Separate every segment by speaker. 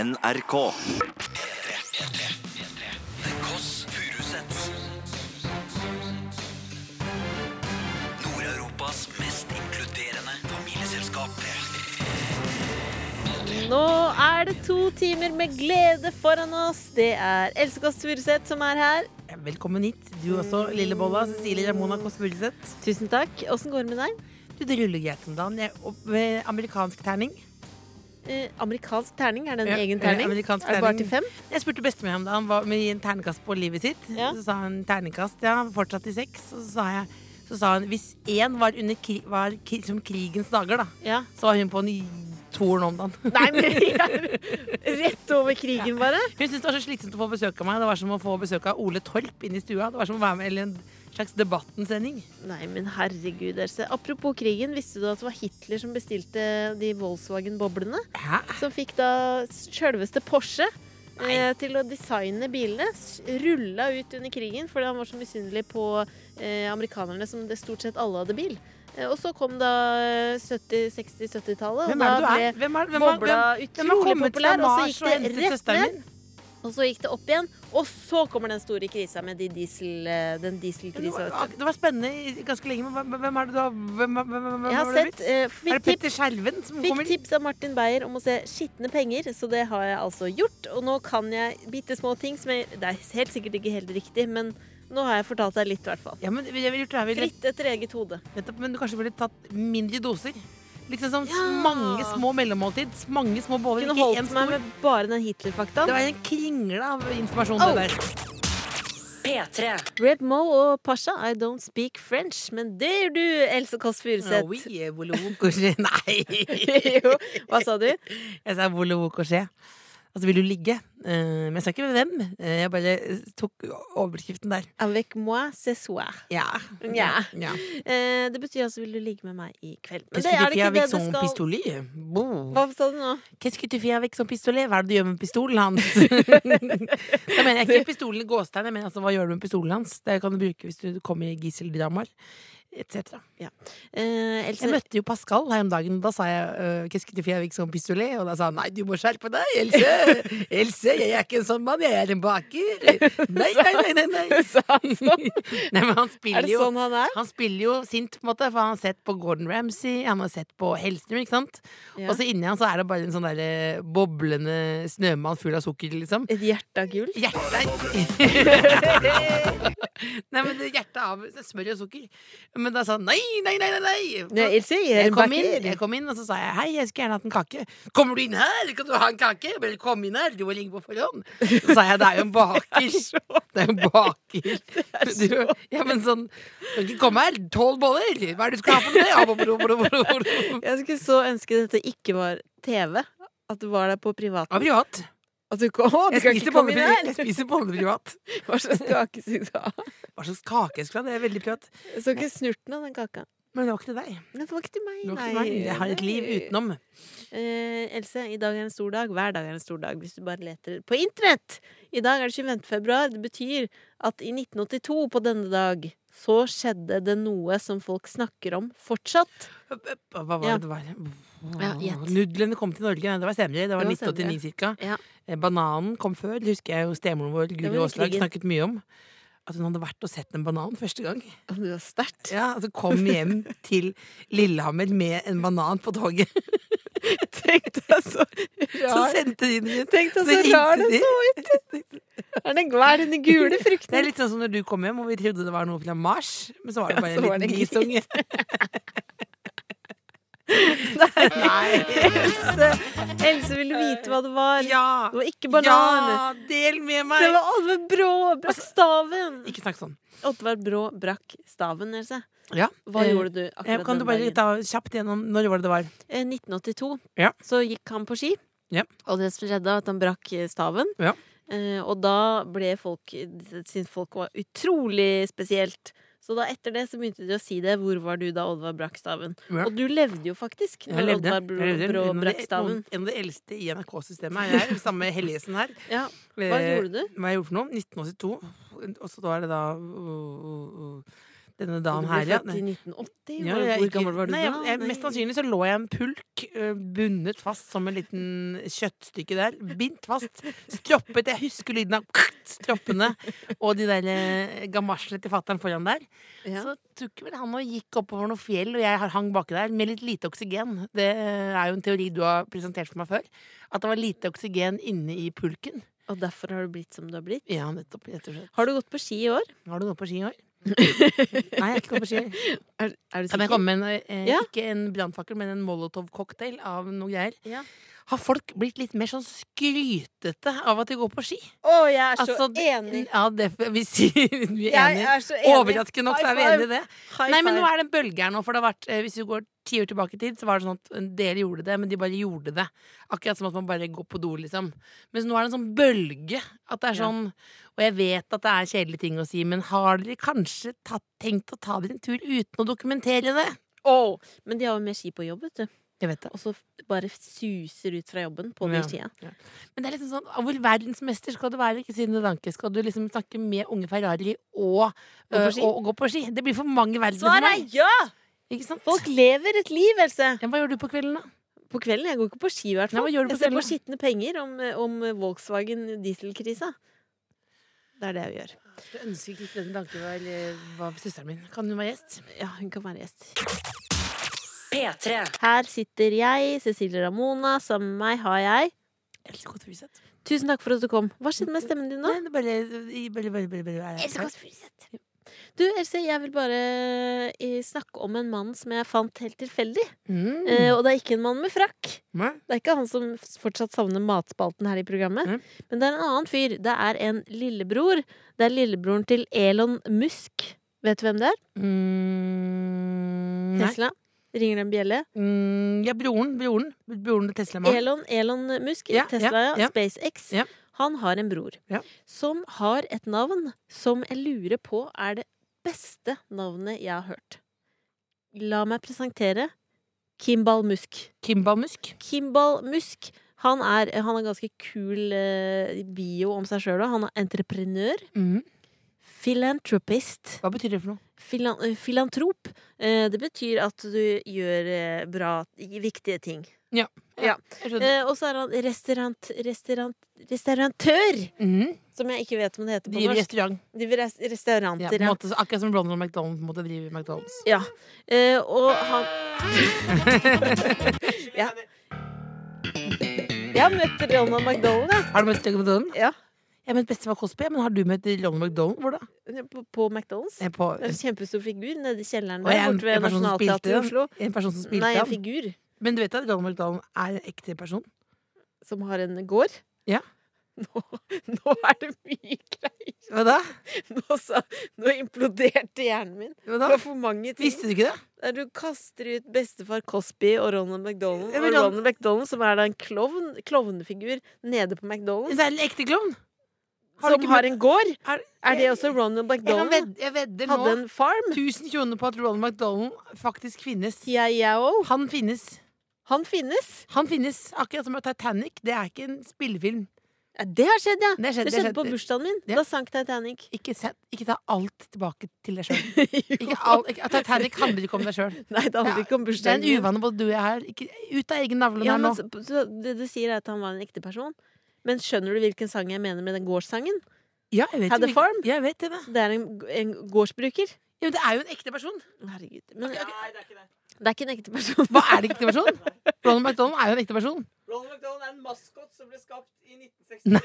Speaker 1: NRK.
Speaker 2: The Koss Furusets Nord-Europas mest inkluderende familieselskap
Speaker 3: Nå er det to timer med glede foran oss. Det er Else Kåss Furuseth som er her.
Speaker 4: Velkommen hit, du også, lille bolla. Cecilie Ramona Kåss Furuseth.
Speaker 3: Tusen takk. Åssen går det med deg?
Speaker 4: Du, det ruller greit om dagen. Jeg, opp, med amerikansk terning.
Speaker 3: Eh, amerikansk terning, er det en
Speaker 4: Ja,
Speaker 3: egen
Speaker 4: ja,
Speaker 3: terning?
Speaker 4: amerikansk
Speaker 3: er det bare til
Speaker 4: terning.
Speaker 3: fem?
Speaker 4: Jeg spurte bestemor om det. Han var med i en terningkast på livet sitt.
Speaker 3: Ja.
Speaker 4: Så sa han terningkast. Ja, fortsatt i seks. Og så sa, jeg, så sa han hvis én var, under kri, var kri, som krigens dager, da,
Speaker 3: Ja.
Speaker 4: så var hun på en torn om dagen.
Speaker 3: Nei, men vi er rett over krigen, bare.
Speaker 4: Hun syntes det var så slitsomt å få besøk av meg. Det var som å få besøk av Ole Torp inn i stua. Det var som å være med i en slags Debatten-sending.
Speaker 3: Nei, men herregud, Else. Apropos krigen, visste du at det var Hitler som bestilte de Volkswagen-boblene?
Speaker 4: Hæ?
Speaker 3: Som fikk da sjølveste Porsche eh, til å designe bilene. s- Rulla ut under krigen fordi han var så misunnelig på eh, amerikanerne som det stort sett alle hadde bil. Eh, og så kom da eh, 70-, 60-, 70-tallet, og da
Speaker 4: Hvem er det du
Speaker 3: ble
Speaker 4: er? Hvem er, hvem er,
Speaker 3: bobla
Speaker 4: hvem, hvem har
Speaker 3: utrolig
Speaker 4: kommet fra
Speaker 3: populær. Og så
Speaker 4: Mars og
Speaker 3: gikk
Speaker 4: hentet
Speaker 3: det rett
Speaker 4: søsteren
Speaker 3: ned,
Speaker 4: min?
Speaker 3: og så gikk det opp igjen. Og så kommer den store krisa med de diesel, eh, den
Speaker 4: Det
Speaker 3: dieselkrisa.
Speaker 4: var,
Speaker 3: vet du.
Speaker 4: det var spennende i- ganske lenge, men hvem- hvem er det du har hvem, hvem, hvem, hvem
Speaker 3: Jeg har
Speaker 4: har du blitt?
Speaker 3: sett eh,
Speaker 4: Er
Speaker 3: fikk
Speaker 4: det
Speaker 3: tips
Speaker 4: Petter Skjerven som
Speaker 3: Fikk
Speaker 4: kommer?
Speaker 3: tips av Martin Beyer om å se skitne penger, så det har jeg altså gjort. Og nå kan jeg bitte små ting som jeg Det er helt sikkert ikke helt riktig, men nå har jeg fortalt deg litt, i hvert fall.
Speaker 4: Ja, men jeg ville gjort det her ville-
Speaker 3: Fritt etter eget hode.
Speaker 4: nettopp, men du kanskje ville tatt mindre doser. Litt sånn som
Speaker 3: Ja.
Speaker 4: mange små mellommåltid, mange små boller,
Speaker 3: Kunne
Speaker 4: ikke én
Speaker 3: holdt meg
Speaker 4: stor.
Speaker 3: med bare den
Speaker 4: Det
Speaker 3: Hitler-faktaen.
Speaker 4: var en kringle av informasjon,
Speaker 3: Oh.
Speaker 4: det der.
Speaker 3: Reb Moe og Pasha, I don't speak French, men det gjør du, Else Kåss
Speaker 4: Oh,
Speaker 3: Furuseth.
Speaker 4: oui, volo vokosje. Nei!
Speaker 3: jo, hva sa du?
Speaker 4: Jeg sa volo vokosje. Altså, vil du ligge? Eh, Men jeg sa ikke med hvem. Eh, Jeg bare tok overskriften der.
Speaker 3: Avec moi ce soir.
Speaker 4: Ja.
Speaker 3: Ja.
Speaker 4: ja.
Speaker 3: Eh, det betyr altså vil du ligge med meg i kveld. Men det
Speaker 4: Qu'est-ce que
Speaker 3: er
Speaker 4: tu
Speaker 3: det ikke
Speaker 4: fais
Speaker 3: det
Speaker 4: avec
Speaker 3: du
Speaker 4: son
Speaker 3: skal
Speaker 4: pistolet? Bon.
Speaker 3: Hva sa du nå?
Speaker 4: Qu'est-ce que tu fais avec son pistolet? Hva er det du gjør med pistolen hans? da mener jeg ikke pistolen i gåstein, jeg mener altså hva gjør du med pistolen hans? Det kan du bruke hvis du kommer i gisseldramaer, etc.
Speaker 3: Eh, Else,
Speaker 4: Jeg møtte jo Pascal her om dagen, og da sa jeg øh, Qu'est-ce que tu fais avec son pistolet? Og da sa han nei, du må skjerpe deg, Else! Else, jeg er ikke en sånn mann, jeg er en baker! Nei, nei, nei, nei! nei.
Speaker 3: sa han sånn?
Speaker 4: nei men han
Speaker 3: Er
Speaker 4: spiller
Speaker 3: det
Speaker 4: jo
Speaker 3: sånn han er?
Speaker 4: han spiller jo sint, på en måte, for han har sett på Gordon Ramsay, han har sett på Hellstrøm, ikke sant?
Speaker 3: Ja.
Speaker 4: Og så inni han så er det bare en sånn derre boblende snømann full av sukker, liksom.
Speaker 3: Et hjerte av gull?
Speaker 4: Hjertet Nei, men det hjertet av det er smør og sukker. Men da sa han nei, nei, nei, nei! nei.
Speaker 3: Ilse,
Speaker 4: Jeg kom, inn, jeg kom inn, og så sa jeg hei, jeg skulle gjerne hatt en kake. Kommer du inn her? Kan du ha en kake? Vel, kom inn her, du må ligge på forhånd. Så sa jeg det er jo en baker. Det er jo en baker. Du, ja, men sånn, du kan ikke komme her. Tolv boller! Hva er det du skal ha for noe? Ja, bro, bro, bro, bro, bro. Det
Speaker 3: Jeg skulle så ønske dette ikke var TV. At du var der på
Speaker 4: var
Speaker 3: privaten.
Speaker 4: privat.
Speaker 3: At du ikke, å, du
Speaker 4: Jeg
Speaker 3: kan ikke
Speaker 4: spiser
Speaker 3: komme
Speaker 4: boller
Speaker 3: inn
Speaker 4: privat. Jeg
Speaker 3: her!
Speaker 4: spiser boller privat.
Speaker 3: Hva slags kake skal du ha?
Speaker 4: Hva slags kake jeg skulle ha? Det er veldig privat.
Speaker 3: Jeg så ikke snurten av den kaka.
Speaker 4: Men det var ikke til deg.
Speaker 3: Men det var ikke til meg,
Speaker 4: Det var ikke til meg. Jeg har et liv utenom.
Speaker 3: Eh, Else, i dag er en stor dag. Hver dag er en stor dag, hvis du bare leter på internett! I dag er det 25. februar. Det betyr at i 1982, på denne dag, så skjedde det noe som folk snakker om fortsatt.
Speaker 4: Hva var
Speaker 3: Ja.
Speaker 4: det det var?
Speaker 3: Ja, gjett.
Speaker 4: Nudlene kom til Norge, nei, det var senere. Det var
Speaker 3: Det var
Speaker 4: 1989 cirka.
Speaker 3: Ja.
Speaker 4: Eh, Bananen kom før. Det husker jeg jo stemoren vår,
Speaker 3: var
Speaker 4: Guri
Speaker 3: under
Speaker 4: Aasland,
Speaker 3: krigen.
Speaker 4: snakket mye om. At hun hadde vært og sett en banan første gang.
Speaker 3: Å, Det var sterkt.
Speaker 4: Ja, altså Kom hjem til Lillehammer med en banan på toget.
Speaker 3: Tenk deg så
Speaker 4: Så
Speaker 3: rar
Speaker 4: sendte de den ut.
Speaker 3: Tenk deg så
Speaker 4: ringte
Speaker 3: rar den
Speaker 4: de.
Speaker 3: så ut! Er den glad i den gule
Speaker 4: Det er
Speaker 3: frukten?
Speaker 4: litt sånn som når du kom hjem og vi trodde det var noe fra Mars, men så var det
Speaker 3: Ja,
Speaker 4: bare
Speaker 3: så var
Speaker 4: en
Speaker 3: det en
Speaker 4: liten grisunge.
Speaker 3: Else, Else ville vite hva det var.
Speaker 4: Ja!
Speaker 3: Det var ikke banan.
Speaker 4: Ja, Altså, del med meg!
Speaker 3: Det var Oddvar Brå brakk staven!
Speaker 4: Ikke snakk sånn.
Speaker 3: Oddvar Brå brakk staven, Else.
Speaker 4: Ja.
Speaker 3: Hva
Speaker 4: Eh,
Speaker 3: gjorde du
Speaker 4: Eh,
Speaker 3: akkurat
Speaker 4: Kan du
Speaker 3: den
Speaker 4: bare
Speaker 3: dagen?
Speaker 4: ta kjapt gjennom når var det det var?
Speaker 3: Eh, 1982
Speaker 4: Ja.
Speaker 3: så gikk han på ski,
Speaker 4: Ja.
Speaker 3: og det som skjedde, var at han brakk eh, staven.
Speaker 4: Ja.
Speaker 3: Eh, og da ble folk Syntes folk var utrolig spesielt. Så da etter det så begynte de å si det. Hvor var du da Oddvar brakk staven?
Speaker 4: Ja.
Speaker 3: Og du levde jo faktisk
Speaker 4: Jeg
Speaker 3: når
Speaker 4: levde.
Speaker 3: Oddvar
Speaker 4: Jeg levde.
Speaker 3: Brå, Brå
Speaker 4: En av de-
Speaker 3: brakk staven.
Speaker 4: noen- En av de eldste i NRK-systemet. Jeg er sammen med Helgesen her.
Speaker 3: Ja. Hva
Speaker 4: Eh,
Speaker 3: gjorde du?
Speaker 4: oh, Hva jeg gjorde for noe? 1982. Og så da er det da øh, øh, øh, Denne
Speaker 3: Du
Speaker 4: dagen
Speaker 3: ble
Speaker 4: her, ja.
Speaker 3: født i 1980?
Speaker 4: Ja,
Speaker 3: Hvor-
Speaker 4: jeg
Speaker 3: Hvor
Speaker 4: gikk-
Speaker 3: gammel var du
Speaker 4: nei, jeg,
Speaker 3: da?
Speaker 4: Jeg, mest sannsynlig så lå jeg i en pulk, ø, bundet fast som en liten kjøttstykke der. Bindt fast. Stroppet. Jeg husker lyden av stroppene og de der ø, gamasjene til fattern foran der.
Speaker 3: Ja.
Speaker 4: Så tok vel han og gikk oppover noe fjell, og jeg hang baki der med litt lite oksygen. Det er jo en teori du har presentert for meg før. At det var lite oksygen inne i pulken.
Speaker 3: Og derfor har du blitt som du har blitt?
Speaker 4: Ja, nettopp. Rett og slett.
Speaker 3: Har du gått på ski i år?
Speaker 4: Har du noe på ski i år? Nei, jeg har ikke gått på ski. i år.
Speaker 3: Er, er du
Speaker 4: Kan jeg
Speaker 3: sikker?
Speaker 4: komme med en, eh,
Speaker 3: Ja.
Speaker 4: ikke en brannfakkel, men en molotovcocktail av noe greier?
Speaker 3: Ja.
Speaker 4: Har folk blitt litt mer sånn skrytete av at de går på ski?
Speaker 3: Å, jeg er så
Speaker 4: Altså,
Speaker 3: enig!
Speaker 4: Ja, det, vi sier vi er
Speaker 3: Jeg
Speaker 4: enige.
Speaker 3: er så enig.
Speaker 4: Overraskende nok så er vi
Speaker 3: High
Speaker 4: enige i det.
Speaker 3: five. High
Speaker 4: Nei, men nå
Speaker 3: five.
Speaker 4: er det en bølge her nå, for det har vært eh, Hvis du går ti år tilbake i tid, så var det sånn at en del gjorde det, men de bare gjorde det. Akkurat som at man bare går på do, liksom. Mens nå er det en sånn bølge. At det er
Speaker 3: Ja.
Speaker 4: sånn Og jeg vet at det er kjedelige ting å si, men har dere kanskje tatt, tenkt å ta dere en tur uten å dokumentere det?
Speaker 3: Å, Men de har jo med ski på jobb, vet du.
Speaker 4: Jeg vet det.
Speaker 3: Og så bare suser ut fra jobben på de
Speaker 4: Ja.
Speaker 3: skia.
Speaker 4: Men det er liksom sånn, ah, hvor verdensmester skal du være? Ikke siden det danke. Skal du liksom snakke med unge Ferrari og,
Speaker 3: Gå på
Speaker 4: øh,
Speaker 3: ski?
Speaker 4: og, og gå på ski? Det blir for mange verdener for
Speaker 3: Svaret er
Speaker 4: meg.
Speaker 3: ja!
Speaker 4: Ikke sant?
Speaker 3: Folk lever et liv, Else.
Speaker 4: Ja, hva gjør du på kvelden, da?
Speaker 3: På kvelden. Jeg går ikke på ski, i hvert
Speaker 4: Nei,
Speaker 3: fall.
Speaker 4: hva gjør du på
Speaker 3: jeg ser på
Speaker 4: kvelden?
Speaker 3: skitne penger om, om Volkswagen dieselkrisa. Det er det jeg gjør.
Speaker 4: Du ønsker ikke Kristin Danke var, var søsteren min. Kan hun være gjest?
Speaker 3: Ja, hun kan være gjest.
Speaker 1: P3.
Speaker 3: Her sitter jeg, Cecilie Ramona. Sammen med meg har jeg
Speaker 4: Jeg elsker godt Furuseth.
Speaker 3: Tusen takk for at du kom. Hva skjedde med stemmen din nå?
Speaker 4: Nei, det er bare, jeg bare, bare, bare, bare er-
Speaker 3: Du, Else, jeg vil bare eh, snakke om en mann som jeg fant helt tilfeldig.
Speaker 4: Mm.
Speaker 3: Eh, og det er ikke en mann med frakk.
Speaker 4: Nei.
Speaker 3: Det er ikke han som f- fortsatt savner matspalten her i programmet.
Speaker 4: Mm.
Speaker 3: Men det er en annen fyr. Det er en lillebror. Det er lillebroren til Elon Musk. Vet du hvem det er?
Speaker 4: Mm. Nei.
Speaker 3: Tesla. Ringer en bjelle.
Speaker 4: Mm, ja, broren. Broren Broren til Tesla-mannen.
Speaker 3: Elon, Elon Musk,
Speaker 4: Ja,
Speaker 3: Tesla,
Speaker 4: ja, ja.
Speaker 3: SpaceX.
Speaker 4: Ja.
Speaker 3: Han har en bror
Speaker 4: Ja.
Speaker 3: som har et navn som jeg lurer på er det beste navnet jeg har hørt. La meg presentere Kimball Musk.
Speaker 4: Kimba Musk.
Speaker 3: Kimball Musk. Han er, han har en ganske kul eh, bio om seg sjøl. Han er entreprenør,
Speaker 4: Mm.
Speaker 3: filantropist,
Speaker 4: Hva betyr det for noe?
Speaker 3: filan, eh, filantrop. Eh, det betyr at du gjør eh, bra, viktige ting.
Speaker 4: Jeg skjønner.
Speaker 3: Eh, og så er han restaurant, restaurant, restaurantør,
Speaker 4: Mm.
Speaker 3: som jeg ikke vet om det heter på
Speaker 4: Driver
Speaker 3: norsk.
Speaker 4: restaurant.
Speaker 3: Driver res-
Speaker 4: Ja,
Speaker 3: restauranter,
Speaker 4: på en
Speaker 3: ja.
Speaker 4: måte, så akkurat som Ronald McDonald måtte drive McDonald's.
Speaker 3: ja. Eh, og han ja. Jeg har møtt Ronald McDonald, jeg.
Speaker 4: Har du møtt Ronald McDonald?
Speaker 3: Mm. Ja.
Speaker 4: Jeg mente bestefar Cosby, men har du møtt Ronald McDonald? Hvor da?
Speaker 3: På, på McDonald's.
Speaker 4: Eh, På,
Speaker 3: Det er en kjempestor figur nede i kjelleren
Speaker 4: Og
Speaker 3: der,
Speaker 4: en-
Speaker 3: borte ved
Speaker 4: en person som
Speaker 3: Nationaltheatret i
Speaker 4: spilte
Speaker 3: Oslo.
Speaker 4: en person som spilte
Speaker 3: Nei, en
Speaker 4: han.
Speaker 3: figur
Speaker 4: Men du vet at Ronald McDonald er en ekte person?
Speaker 3: som har en gård.
Speaker 4: Ja.
Speaker 3: Nå, nå er det mye greier.
Speaker 4: Hva da?
Speaker 3: Nå, sa, nå imploderte hjernen min.
Speaker 4: Hva
Speaker 3: Det
Speaker 4: da?
Speaker 3: var for mange ting.
Speaker 4: Visste du ikke det?
Speaker 3: Der Eh, du kaster ut bestefar Cosby og Ronald McDonald. Og
Speaker 4: Ja, men han-
Speaker 3: Ronald McDonald, som er da en klovn, klovnefigur nede på McDonald's,
Speaker 4: Det er en ekte klovn. Har du
Speaker 3: som
Speaker 4: ikke
Speaker 3: har
Speaker 4: møtt-
Speaker 3: en gård.
Speaker 4: Er-
Speaker 3: Er det også Ronald
Speaker 4: Jeg, kan
Speaker 3: McDonald?
Speaker 4: ved, jeg vedder nå
Speaker 3: Hadde en farm.
Speaker 4: 1000 kroner på at Ronald McDonald faktisk finnes.
Speaker 3: TIAO.
Speaker 4: Han finnes.
Speaker 3: Han finnes.
Speaker 4: Han finnes. Akkurat som Titanic. Det er ikke en spillefilm.
Speaker 3: Ja, det har skjedd, ja.
Speaker 4: Det har
Speaker 3: Det
Speaker 4: skjedd, det har
Speaker 3: skjedde på
Speaker 4: skjedd.
Speaker 3: bursdagen min.
Speaker 4: Ja.
Speaker 3: Da sank Titanic.
Speaker 4: Ikke, sett, ikke ta alt tilbake til deg sjøl. Titanic handler ikke om deg sjøl.
Speaker 3: Nei, det handler
Speaker 4: Ja,
Speaker 3: ikke om
Speaker 4: Det er
Speaker 3: bursdagen.
Speaker 4: en
Speaker 3: min.
Speaker 4: uvane både du og jeg her. Ikke, ut av egen navle
Speaker 3: Ja,
Speaker 4: her
Speaker 3: men
Speaker 4: nå.
Speaker 3: så, så det du sier, er at han var en ekte person. Men skjønner du hvilken sang jeg mener med den gårdssangen?
Speaker 4: Ja, jeg vet
Speaker 3: Had
Speaker 4: jo
Speaker 3: a
Speaker 4: hvilken-
Speaker 3: farm?
Speaker 4: Ja, jeg vet det. da.
Speaker 3: Det er en, en gårdsbruker.
Speaker 4: Ja, men det er jo en ekte person.
Speaker 3: Herregud. Men, det er ikke en ekte person.
Speaker 4: Hva er det ikke ekte person? Ronald McDonald er jo en ekte person.
Speaker 5: Ronald McDonald er en maskot som ble skapt i 1963.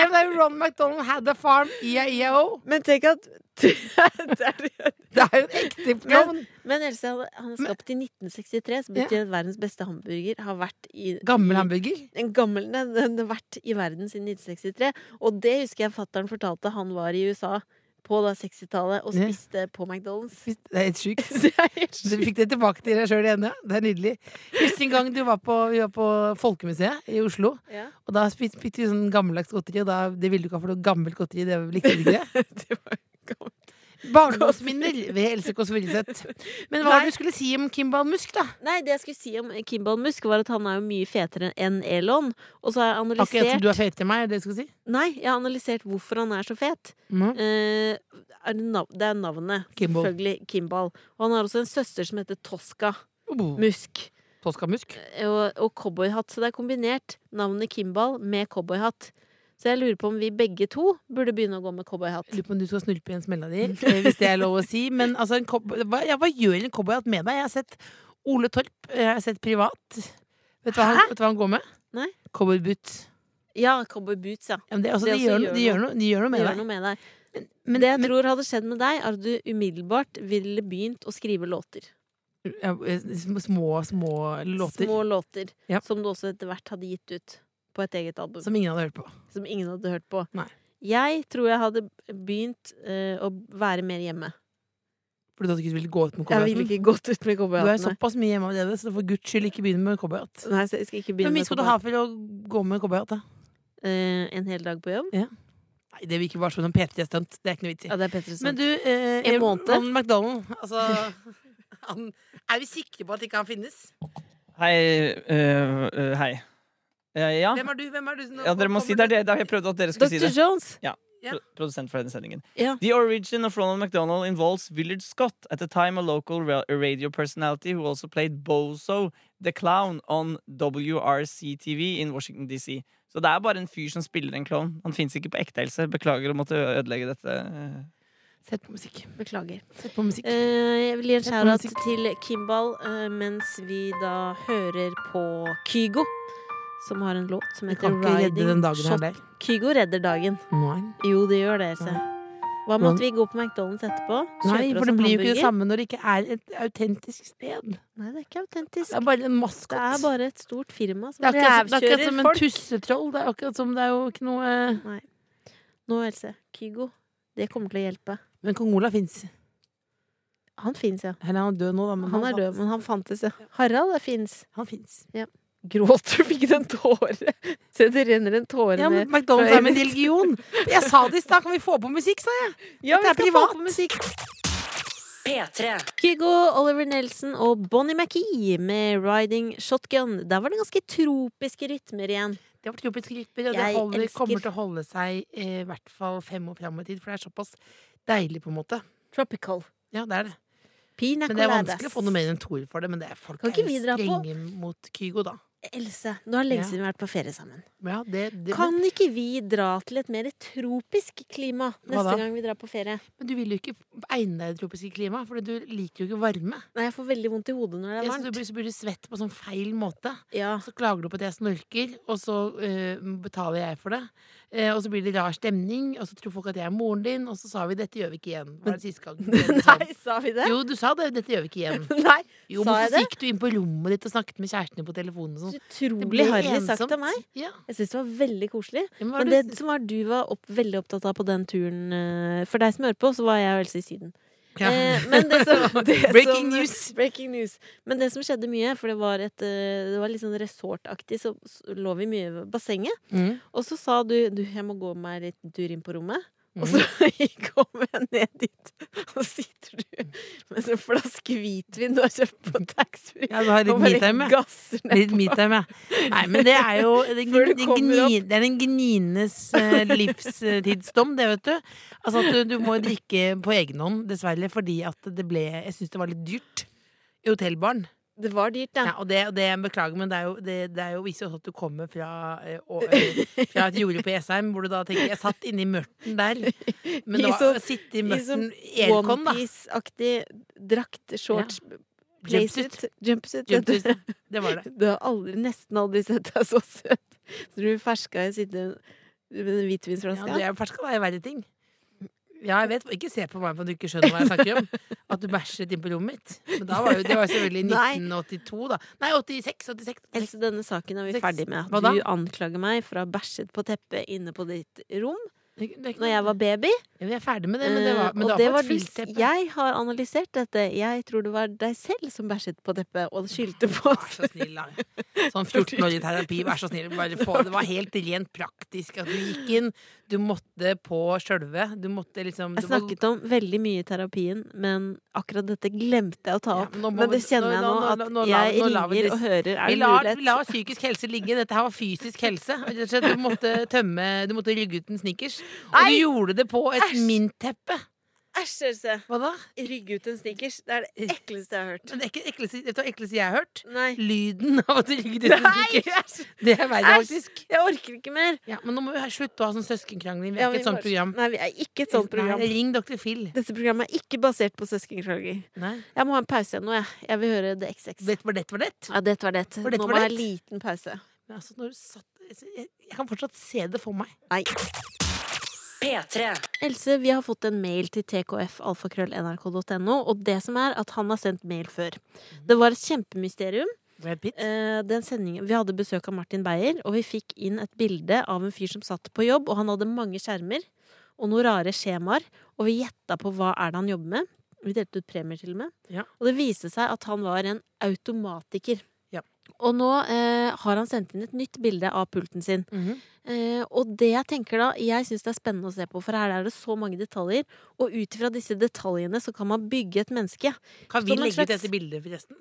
Speaker 4: Ja, men det er jo Ronald McDonald had a farm, E IAEO.
Speaker 3: Men tenk at det er det.
Speaker 4: Det er jo en ekte klovn.
Speaker 3: Men Else, han- han er skapt i 1963, som betyr at verdens beste hamburger har vært i
Speaker 4: Gammel hamburger.
Speaker 3: en gammel, nei, den har vært i verden siden 1963. Og det husker jeg fattern fortalte han var i USA på da 60-tallet og
Speaker 4: Ja.
Speaker 3: spiste på McDonald's.
Speaker 4: Det er helt sjukt.
Speaker 3: Det er helt
Speaker 4: Du fikk det tilbake til deg sjøl igjen, ja. Det er nydelig. Husker en gang du var på, vi var på Folkemuseet i Oslo,
Speaker 3: Ja.
Speaker 4: og da spis- fikk du sånn gammeldags godteri, og da, det ville du ikke ha for noe gammelt godteri, det likte du ikke. det?
Speaker 3: Det var gammelt.
Speaker 4: Barndomsminner ved Else Kåss Furuseth. Men hva var
Speaker 3: Nei.
Speaker 4: det du skulle si om Kimbal Musk, da?
Speaker 3: Nei, det jeg skulle si om Kimball Musk, var at han er jo mye fetere enn Elon. Og så har jeg
Speaker 4: Akkurat som
Speaker 3: analysert
Speaker 4: du er feit til meg, er det du skal si?
Speaker 3: Nei, jeg har analysert hvorfor han er så fet.
Speaker 4: Mhm.
Speaker 3: Eh, er det, nav det er navnet.
Speaker 4: Kimball.
Speaker 3: Selvfølgelig Kimball. Og han har også en søster som heter Tosca
Speaker 4: Oh,
Speaker 3: Musk.
Speaker 4: Tosca Musk.
Speaker 3: og, og cowboyhatt. Så det er kombinert navnet Kimball med cowboyhatt. Så jeg lurer på om vi begge to burde begynne å gå med cowboyhatt.
Speaker 4: Lurer på om du skal snulpe i en smella di, eh, hvis det er lov å si. Men altså, en cow- hva, ja, hva gjør en cowboyhatt med deg? Jeg har sett Ole Torp, eh, jeg har sett Privat. Vet du hva han, vet du hva han går med?
Speaker 3: Nei.
Speaker 4: Cowboyboot.
Speaker 3: Ja, cowboyboots, ja.
Speaker 4: Ja, men det,
Speaker 3: Det
Speaker 4: altså,
Speaker 3: også
Speaker 4: de,
Speaker 3: gjør
Speaker 4: gjør, no- de, gjør noe, de gjør noe
Speaker 3: Det
Speaker 4: med
Speaker 3: gjør
Speaker 4: deg.
Speaker 3: noe med deg.
Speaker 4: Men,
Speaker 3: det jeg
Speaker 4: men,
Speaker 3: tror hadde skjedd med deg, er at du umiddelbart ville begynt å skrive låter.
Speaker 4: ja, eh, små, små låter
Speaker 3: Små låter.
Speaker 4: Ja.
Speaker 3: Som du også etter hvert hadde gitt ut på et eget album. Som,
Speaker 4: som ingen hadde hørt på.
Speaker 3: ingen hadde hørt på.
Speaker 4: Nei.
Speaker 3: Jeg tror jeg hadde begynt eh, å være mer hjemme.
Speaker 4: For du hadde ikke villet gå ut med
Speaker 3: Jeg ville
Speaker 4: cowboyhatten.
Speaker 3: ikke gått ut med
Speaker 4: Du er jo
Speaker 3: cowboyhattene.
Speaker 4: såpass mye hjemme allerede, så for guds skyld ikke begynn med cowboyhatt.
Speaker 3: Nei, så jeg skal ikke
Speaker 4: Hvor
Speaker 3: begynne
Speaker 4: mye
Speaker 3: med
Speaker 4: skal du ha for å gå med cowboyhatt? da?
Speaker 3: cowboyhatt. Eh, en hel dag på jobb.
Speaker 4: Nei, det virker bare sånn som en PT-stunt. Det er ikke noe vits i.
Speaker 3: Ja, det er Petter som
Speaker 4: Men du, eh,
Speaker 3: En måned.
Speaker 4: Ronald McDonald, altså han, Er vi sikre på at ikke han finnes?
Speaker 6: Hei. øh, øh, hei. Eh, ja.
Speaker 4: Hvem er du? Hvem er du? Nå
Speaker 6: ja, dere må
Speaker 4: kommer
Speaker 6: si det. Det er det jeg prøvde at dere skulle si
Speaker 3: Dr.
Speaker 6: det.
Speaker 3: Jones!
Speaker 4: Ja.
Speaker 6: Pro- Produsent for denne sendingen.
Speaker 3: Ja.
Speaker 6: The origin of Ronald McDonald involves Willard Scott, at the time a local ra- radio personality who also played Bozo the Clown on WRC-TV in Washington DC. Så det er bare en fyr som spiller en klovn. Han fins ikke på ekte, Else. Beklager å måtte ødelegge dette. eh.
Speaker 4: Sett på musikk. Eh,
Speaker 3: Beklager.
Speaker 4: Sett på musikk.
Speaker 3: Eh, jeg vil gi en
Speaker 4: Jeg
Speaker 3: shout-out
Speaker 4: kommer
Speaker 3: til Kimball eh, mens vi da hører på Kygo, som har en låt som
Speaker 4: Vi
Speaker 3: heter
Speaker 4: kan ikke redde den
Speaker 3: Riding
Speaker 4: dagen her
Speaker 3: Shot.
Speaker 4: der.
Speaker 3: Kygo redder dagen.
Speaker 4: Nei,
Speaker 3: Jo, det gjør det, Else.
Speaker 4: Nei.
Speaker 3: Hva med at vi går på McDonald's etterpå?
Speaker 4: Nei
Speaker 3: Kjøper
Speaker 4: for
Speaker 3: oss
Speaker 4: det
Speaker 3: en
Speaker 4: blir jo ikke det
Speaker 3: hamburger?
Speaker 4: samme når det ikke er et autentisk sted.
Speaker 3: Nei, det er ikke
Speaker 4: Det
Speaker 3: autentisk.
Speaker 4: er bare en
Speaker 3: Det er
Speaker 4: maskot.
Speaker 3: bare et stort firma som
Speaker 4: Det er akkurat som- det er akkurat
Speaker 3: revkjører
Speaker 4: som en
Speaker 3: folk.
Speaker 4: tussetroll. Det er akkurat som det er jo ikke noe eh,
Speaker 3: Nå, Else. Kygo. Det kommer til å hjelpe.
Speaker 4: Men kong Olav fins.
Speaker 3: Han fins, ja.
Speaker 4: Eller han er død nå, da. Men
Speaker 3: Han er død, men han fantes, ja. Harald er fins.
Speaker 4: Han fins.
Speaker 3: Gråter du? Fikk du en tåre? Se, det renner en tåre
Speaker 4: Ja, men
Speaker 3: ned.
Speaker 4: McDonald's er med en religion. Jeg sa det i stad. Kan vi få på musikk, sa jeg?
Speaker 3: Ja,
Speaker 4: Dette er privat.
Speaker 3: musikk.
Speaker 1: P3.
Speaker 3: Kygo, Oliver Nelson og Bonnie McKee med 'Riding Shotgun'. Der var det ganske tropiske rytmer igjen.
Speaker 4: Det har vært tropiske rytmer, og det
Speaker 3: Jeg
Speaker 4: holder,
Speaker 3: elsker-
Speaker 4: kommer til å holde seg eh, i hvert fall fem år fram i tid, for det er såpass deilig, på en måte.
Speaker 3: Tropical.
Speaker 4: Ja, det er det.
Speaker 3: Pina
Speaker 4: Men det er
Speaker 3: coladas.
Speaker 4: vanskelig å få noe mer enn en toer for det, men det er folk
Speaker 3: Kan
Speaker 4: er
Speaker 3: ikke vi dra på?
Speaker 4: strenge mot Kygo, da.
Speaker 3: Else, nå er det lenge
Speaker 4: Ja.
Speaker 3: siden vi har vært på ferie sammen.
Speaker 4: Ja, det, det,
Speaker 3: Kan ikke vi dra til et mer tropisk klima
Speaker 4: da?
Speaker 3: neste gang vi drar på ferie?
Speaker 4: men, men du vil jo ikke egne deg i det tropiske klimaet, for du liker jo ikke varme.
Speaker 3: Nei, jeg får veldig vondt i hodet når det
Speaker 4: Ja,
Speaker 3: er
Speaker 4: så du
Speaker 3: varmt.
Speaker 4: blir, så blir du svett på sånn feil måte.
Speaker 3: Ja,
Speaker 4: Og så klager du på at jeg snorker, og så eh, betaler jeg for det. Eh, og så blir det rar stemning, og så tror folk at jeg er moren din, og så sa vi 'dette gjør vi ikke igjen'. Var det siste gang?
Speaker 3: Nei, sa vi det?
Speaker 4: Jo, du sa det. 'Dette gjør vi ikke igjen'.
Speaker 3: Nei,
Speaker 4: Jo,
Speaker 3: sa
Speaker 4: men
Speaker 3: jeg
Speaker 4: så
Speaker 3: det?
Speaker 4: gikk du inn på rommet ditt og snakket med kjæresten din på telefonen. Og sånn.
Speaker 3: Utrolig harry sagt av meg.
Speaker 4: Ja.
Speaker 3: Jeg syns det var veldig koselig.
Speaker 4: Ja, Men hva
Speaker 3: Men
Speaker 4: er det,
Speaker 3: det som var du var opp, veldig opptatt av på den turen eh, For deg som hører på, så var jeg og Else i Syden.
Speaker 4: ja.
Speaker 3: Eh, men det som, det
Speaker 4: Breaking
Speaker 3: som,
Speaker 4: news.
Speaker 3: Breaking news. Men det som skjedde mye, for det var, et, eh, det var litt sånn resortaktig, så s- lå vi mye ved bassenget.
Speaker 4: Mm.
Speaker 3: Og så sa du du, jeg må gå meg en liten tur inn på rommet.
Speaker 4: Mm.
Speaker 3: Og så kommer jeg ned dit, og så sitter du med en flaske hvitvin du har kjøpt på taxfree.
Speaker 4: Ja, du har
Speaker 3: og
Speaker 4: litt
Speaker 3: bare
Speaker 4: metime.
Speaker 3: gasser ned
Speaker 4: Litt metime, ja. Nei, men det er jo Det,
Speaker 3: Før
Speaker 4: gni,
Speaker 3: du
Speaker 4: det,
Speaker 3: kommer
Speaker 4: gni, det er en gnines eh, livstidsdom, det, vet du. Altså at du, du må drikke på egen hånd, dessverre, fordi at det ble Jeg syns det var litt dyrt. I hotellbaren.
Speaker 3: Det var dyrt,
Speaker 4: Ja,
Speaker 3: ja.
Speaker 4: og det, og det beklager, men det, er jo, det, det er jo viser jo også at du kommer fra, eh, å- eh, fra et jorde på Jessheim, hvor du da tenker Jeg satt inne i mørten der. Men det
Speaker 3: I
Speaker 4: var
Speaker 3: sånn-
Speaker 4: å sitte i
Speaker 3: i
Speaker 4: mørten
Speaker 3: sånn
Speaker 4: Aircon, da.
Speaker 3: Onepiece-aktig drakt, shorts,
Speaker 4: Jumpsuit.
Speaker 3: blazer, jumpsuit. vet du.
Speaker 4: Jumpsuit. Det var det.
Speaker 3: Du har aldri, nesten aldri sett deg så søt. Så du ferska i sitte med en
Speaker 4: Ja,
Speaker 3: hvitvinsflaske.
Speaker 4: det er ferska, det er verre ting. Ja, jeg vet, Ikke se på meg for at du ikke skjønner hva jeg snakker om. At du bæsjet inn på rommet mitt. Men da var jo, det var jo selvfølgelig
Speaker 3: Nei.
Speaker 4: 1982, da. Nei, 86. 86.
Speaker 3: Else, denne saken er vi
Speaker 4: Sex.
Speaker 3: ferdig med.
Speaker 4: Hva da?
Speaker 3: Du anklager meg for å ha bæsjet på teppet inne på ditt rom.
Speaker 4: Det- det er ikke
Speaker 3: når jeg
Speaker 4: noe-
Speaker 3: var baby.
Speaker 4: Ja, Vi er ferdig med det, men det var,
Speaker 3: Eh,
Speaker 4: men
Speaker 3: og
Speaker 4: det
Speaker 3: det
Speaker 4: var
Speaker 3: var
Speaker 4: på et
Speaker 3: du-
Speaker 4: fint teppe.
Speaker 3: Jeg har analysert dette. Jeg tror det var deg selv som bæsjet på teppet og skyldte på
Speaker 4: Vær så snill, da. Sånn 14 år i terapi, vær så snill. Bare få. Det var helt rent praktisk at du gikk inn. Du måtte på sjølve. Du måtte liksom
Speaker 3: Jeg
Speaker 4: det var-
Speaker 3: snakket om veldig mye i terapien, men akkurat dette glemte jeg å ta
Speaker 4: Ja,
Speaker 3: opp.
Speaker 4: men nå må
Speaker 3: men det
Speaker 4: vi-
Speaker 3: kjenner jeg
Speaker 4: nå-
Speaker 3: nå,
Speaker 4: nå- nå-
Speaker 3: at
Speaker 4: nå la-
Speaker 3: jeg
Speaker 4: nå la vi
Speaker 3: ringer
Speaker 4: det-
Speaker 3: og hører. Er
Speaker 4: vi
Speaker 3: det
Speaker 4: lar,
Speaker 3: mulighet?
Speaker 4: vi lar psykisk helse ligge. Dette her var fysisk helse. Rett og slett, Du måtte tømme Du måtte rygge ut en snickers. Og du gjorde det på et
Speaker 3: Æsj!
Speaker 4: mintteppe.
Speaker 3: Æsj, Else!
Speaker 4: Hva da?
Speaker 3: Rygg ut en snickers. Det er det ekleste jeg har hørt.
Speaker 4: Men det er ikke det ekleste, vet du hva ekleste jeg har hørt.
Speaker 3: Nei.
Speaker 4: Lyden av at du rygget ut en
Speaker 3: Nei!
Speaker 4: snickers. Det er verre,
Speaker 3: Æsj!
Speaker 4: faktisk.
Speaker 3: Jeg orker ikke mer.
Speaker 4: Ja, men nå må vi ha- slutte å ha sånn søskenkrangling. Vi
Speaker 3: Ja,
Speaker 4: er ikke et sånt
Speaker 3: bare-
Speaker 4: program.
Speaker 3: Nei, vi er ikke et sånt program.
Speaker 4: Nei, ring dr. Phil.
Speaker 3: Dette programmet er ikke basert på søskenklager.
Speaker 4: Nei.
Speaker 3: Jeg må ha en pause igjen nå, jeg. Jeg vil høre The XX.
Speaker 4: Dette var dette var dette.
Speaker 3: Ja, dette var det.
Speaker 4: Var dette
Speaker 3: Nå
Speaker 4: var
Speaker 3: må jeg ha
Speaker 4: det?
Speaker 3: en liten pause.
Speaker 4: Men altså, når du satt, jeg, jeg kan fortsatt se det for meg.
Speaker 3: Nei.
Speaker 1: P3.
Speaker 3: Else, vi har fått en mail til tkfalfakrøllnrk.no, og det som er at han har sendt mail før. Det var et kjempemysterium.
Speaker 4: Brad Pitt.
Speaker 3: Eh, Den sendingen, vi hadde besøk av Martin Beyer, og vi fikk inn et bilde av en fyr som satt på jobb, og han hadde mange skjermer og noen rare skjemaer, og vi gjetta på hva er det han jobber med. Vi delte ut premier til og med.
Speaker 4: Ja.
Speaker 3: Og det viste seg at han var en automatiker.
Speaker 4: Ja.
Speaker 3: Og nå eh, har han sendt inn et nytt bilde av pulten sin.
Speaker 4: Mhm.
Speaker 3: Eh, og det jeg tenker da, jeg syns det er spennende å se på, for her er det så mange detaljer. Og ut ifra disse detaljene så kan man bygge et menneske.
Speaker 4: Kan vi
Speaker 3: Som en
Speaker 4: legge ut
Speaker 3: slags-
Speaker 4: dette bildet, forresten?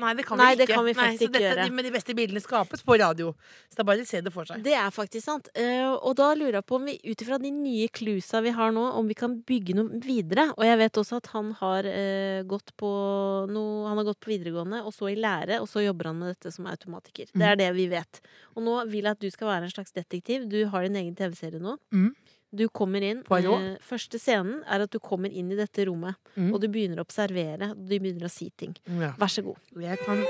Speaker 4: Nei, det kan
Speaker 3: Nei,
Speaker 4: vi ikke.
Speaker 3: det kan vi
Speaker 4: Nei,
Speaker 3: faktisk
Speaker 4: så dette,
Speaker 3: ikke gjøre.
Speaker 4: de- Men de beste bildene skapes på radio. Så det er bare å se det for seg.
Speaker 3: Det er faktisk sant. Eh, og da lurer jeg på om vi ut ifra de nye cluesa vi har nå, om vi kan bygge noe videre. Og jeg vet også at han har eh, gått på noe Han har gått på videregående, og så i lære, og så jobber han med dette som automatiker. Det er det vi vet. Og nå vil jeg at du skal være en slags detektiv. Du har din egen TV-serie nå.
Speaker 4: Mhm.
Speaker 3: Du kommer inn
Speaker 4: Poirot.
Speaker 3: eh, Første scenen er at du kommer inn i dette rommet,
Speaker 4: Mhm.
Speaker 3: og du begynner å observere, og du begynner å si ting.
Speaker 4: Ja.
Speaker 3: Vær så god.
Speaker 4: Jeg kan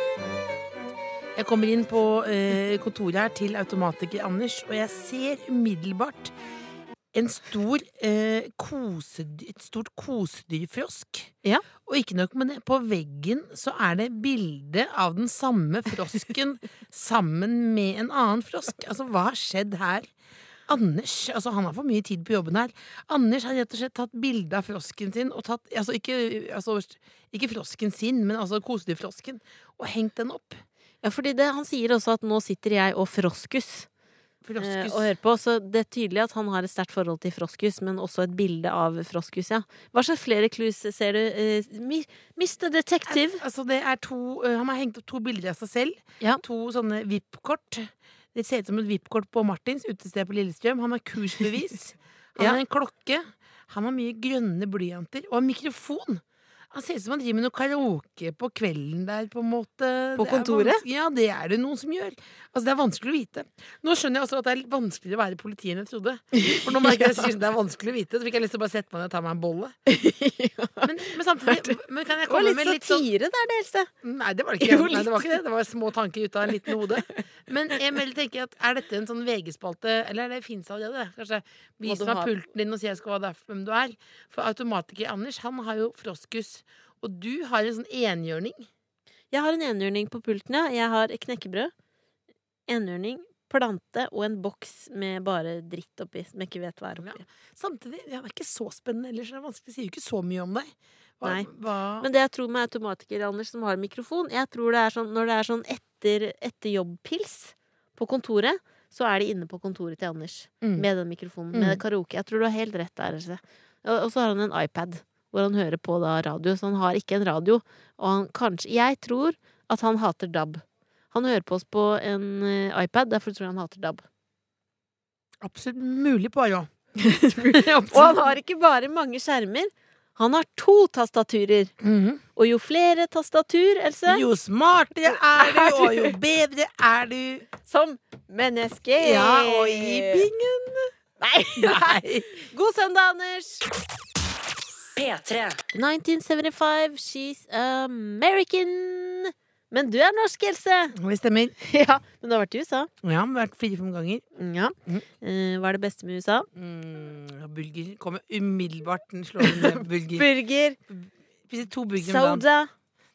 Speaker 4: Jeg kommer inn på eh, kontoret her til automatiker Anders, og jeg ser umiddelbart en stor eh, kosedyr, et stort kosedyrfrosk.
Speaker 3: Ja.
Speaker 4: Og ikke nok med det, på veggen så er det bilde av den samme frosken sammen med en annen frosk. Altså, hva har skjedd her? Anders altså han har for mye tid på jobben her. Anders har rett og slett tatt bilde av frosken sin. Og tatt, altså ikke, altså, ikke frosken sin, men altså kosedyrfrosken. Og hengt den opp.
Speaker 3: Ja, fordi det, han sier også at nå sitter jeg og froskus. eh,
Speaker 4: Froskus.
Speaker 3: og hører på. Så det er tydelig at han har et sterkt forhold til Froskus, men også et bilde av Froskus, ja. Hva slags flere clues ser du? eh, mi- Mr. Detective.
Speaker 4: altså, det er to, eh, han har hengt opp to bilder av seg selv.
Speaker 3: Ja.
Speaker 4: To sånne VIP-kort. Det ser ut som et VIP-kort på Martins utested på Lillestrøm. Han har kursbevis. Han
Speaker 3: Ja.
Speaker 4: har en klokke. Han har mye grønne blyanter. Og en mikrofon. Han ser ut som han driver med noe karaoke på kvelden der, på en måte.
Speaker 3: På
Speaker 4: Det er
Speaker 3: kontoret?
Speaker 4: vans- Ja, det er det noen som gjør. Altså, det er vanskelig å vite. Nå skjønner jeg også at det er litt vanskeligere å være politi enn jeg trodde. For nå merker jeg at det er vanskelig å vite, så fikk jeg lyst til å bare sette meg ned og ta meg en bolle. Men, men samtidig men kan jeg
Speaker 3: Det var
Speaker 4: komme
Speaker 3: litt
Speaker 4: med litt sånn
Speaker 3: satire der, det eldste.
Speaker 4: Nei, det var det ikke.
Speaker 3: Jo,
Speaker 4: Nei, det, var
Speaker 3: litt.
Speaker 4: ikke det. det var små tanker ut av en liten hode. Men jeg melder tenker at er dette en sånn VG-spalte, eller er det fins allerede? Kanskje
Speaker 3: Må
Speaker 4: vis
Speaker 3: du
Speaker 4: meg
Speaker 3: ha-
Speaker 4: pulten din og si jeg skal hva det er for hvem du er. For automatiker Anders, han har jo froskus. Og du har en sånn enhjørning.
Speaker 3: Jeg har en enhjørning på pulten, ja. Jeg har knekkebrød, enhjørning, plante og en boks med bare dritt oppi, som jeg ikke vet hva er oppi.
Speaker 4: Samtidig, ja, det er ikke så spennende ellers. Det er vanskelig, det sier jo ikke så mye om deg. Hva,
Speaker 3: Nei.
Speaker 4: Hva,
Speaker 3: Men det jeg tror med automatiker, Anders, som har mikrofon Jeg tror det er sånn, Når det er sånn etter, etter jobb-pils på kontoret, så er de inne på kontoret til Anders
Speaker 4: Mm.
Speaker 3: med den mikrofonen.
Speaker 4: Mm.
Speaker 3: Med karaoke. Jeg tror du har helt rett der. Else. Og og så har han en iPad hvor han hører på da radio, så han har ikke en radio. Og han kanskje Jeg tror at han hater DAB. Han hører på oss på en eh, iPad, derfor tror jeg han hater DAB.
Speaker 4: absolutt mulig på Arå.
Speaker 3: Og han har ikke bare mange skjermer. Han har to tastaturer.
Speaker 4: Mhm.
Speaker 3: Og jo flere tastatur, Else
Speaker 4: Jo smartere er du, og jo bedre er du.
Speaker 3: Som menneske!
Speaker 4: Ja, og i bingen.
Speaker 3: Nei!
Speaker 4: Nei.
Speaker 3: God søndag, Anders!
Speaker 1: P3.
Speaker 3: 1975, she's American. Men du er norsk, Else.
Speaker 4: Det stemmer.
Speaker 3: Ja, Men du har vært i USA.
Speaker 4: Ja, men vært fire-fem ganger.
Speaker 3: Mm, Ja. Eh, hva er det beste med USA?
Speaker 4: Mm, og bulger. Kommer umiddelbart den slående ned. Bulger.
Speaker 3: Burger,
Speaker 4: Spiser to bulger om dagen.
Speaker 3: soda,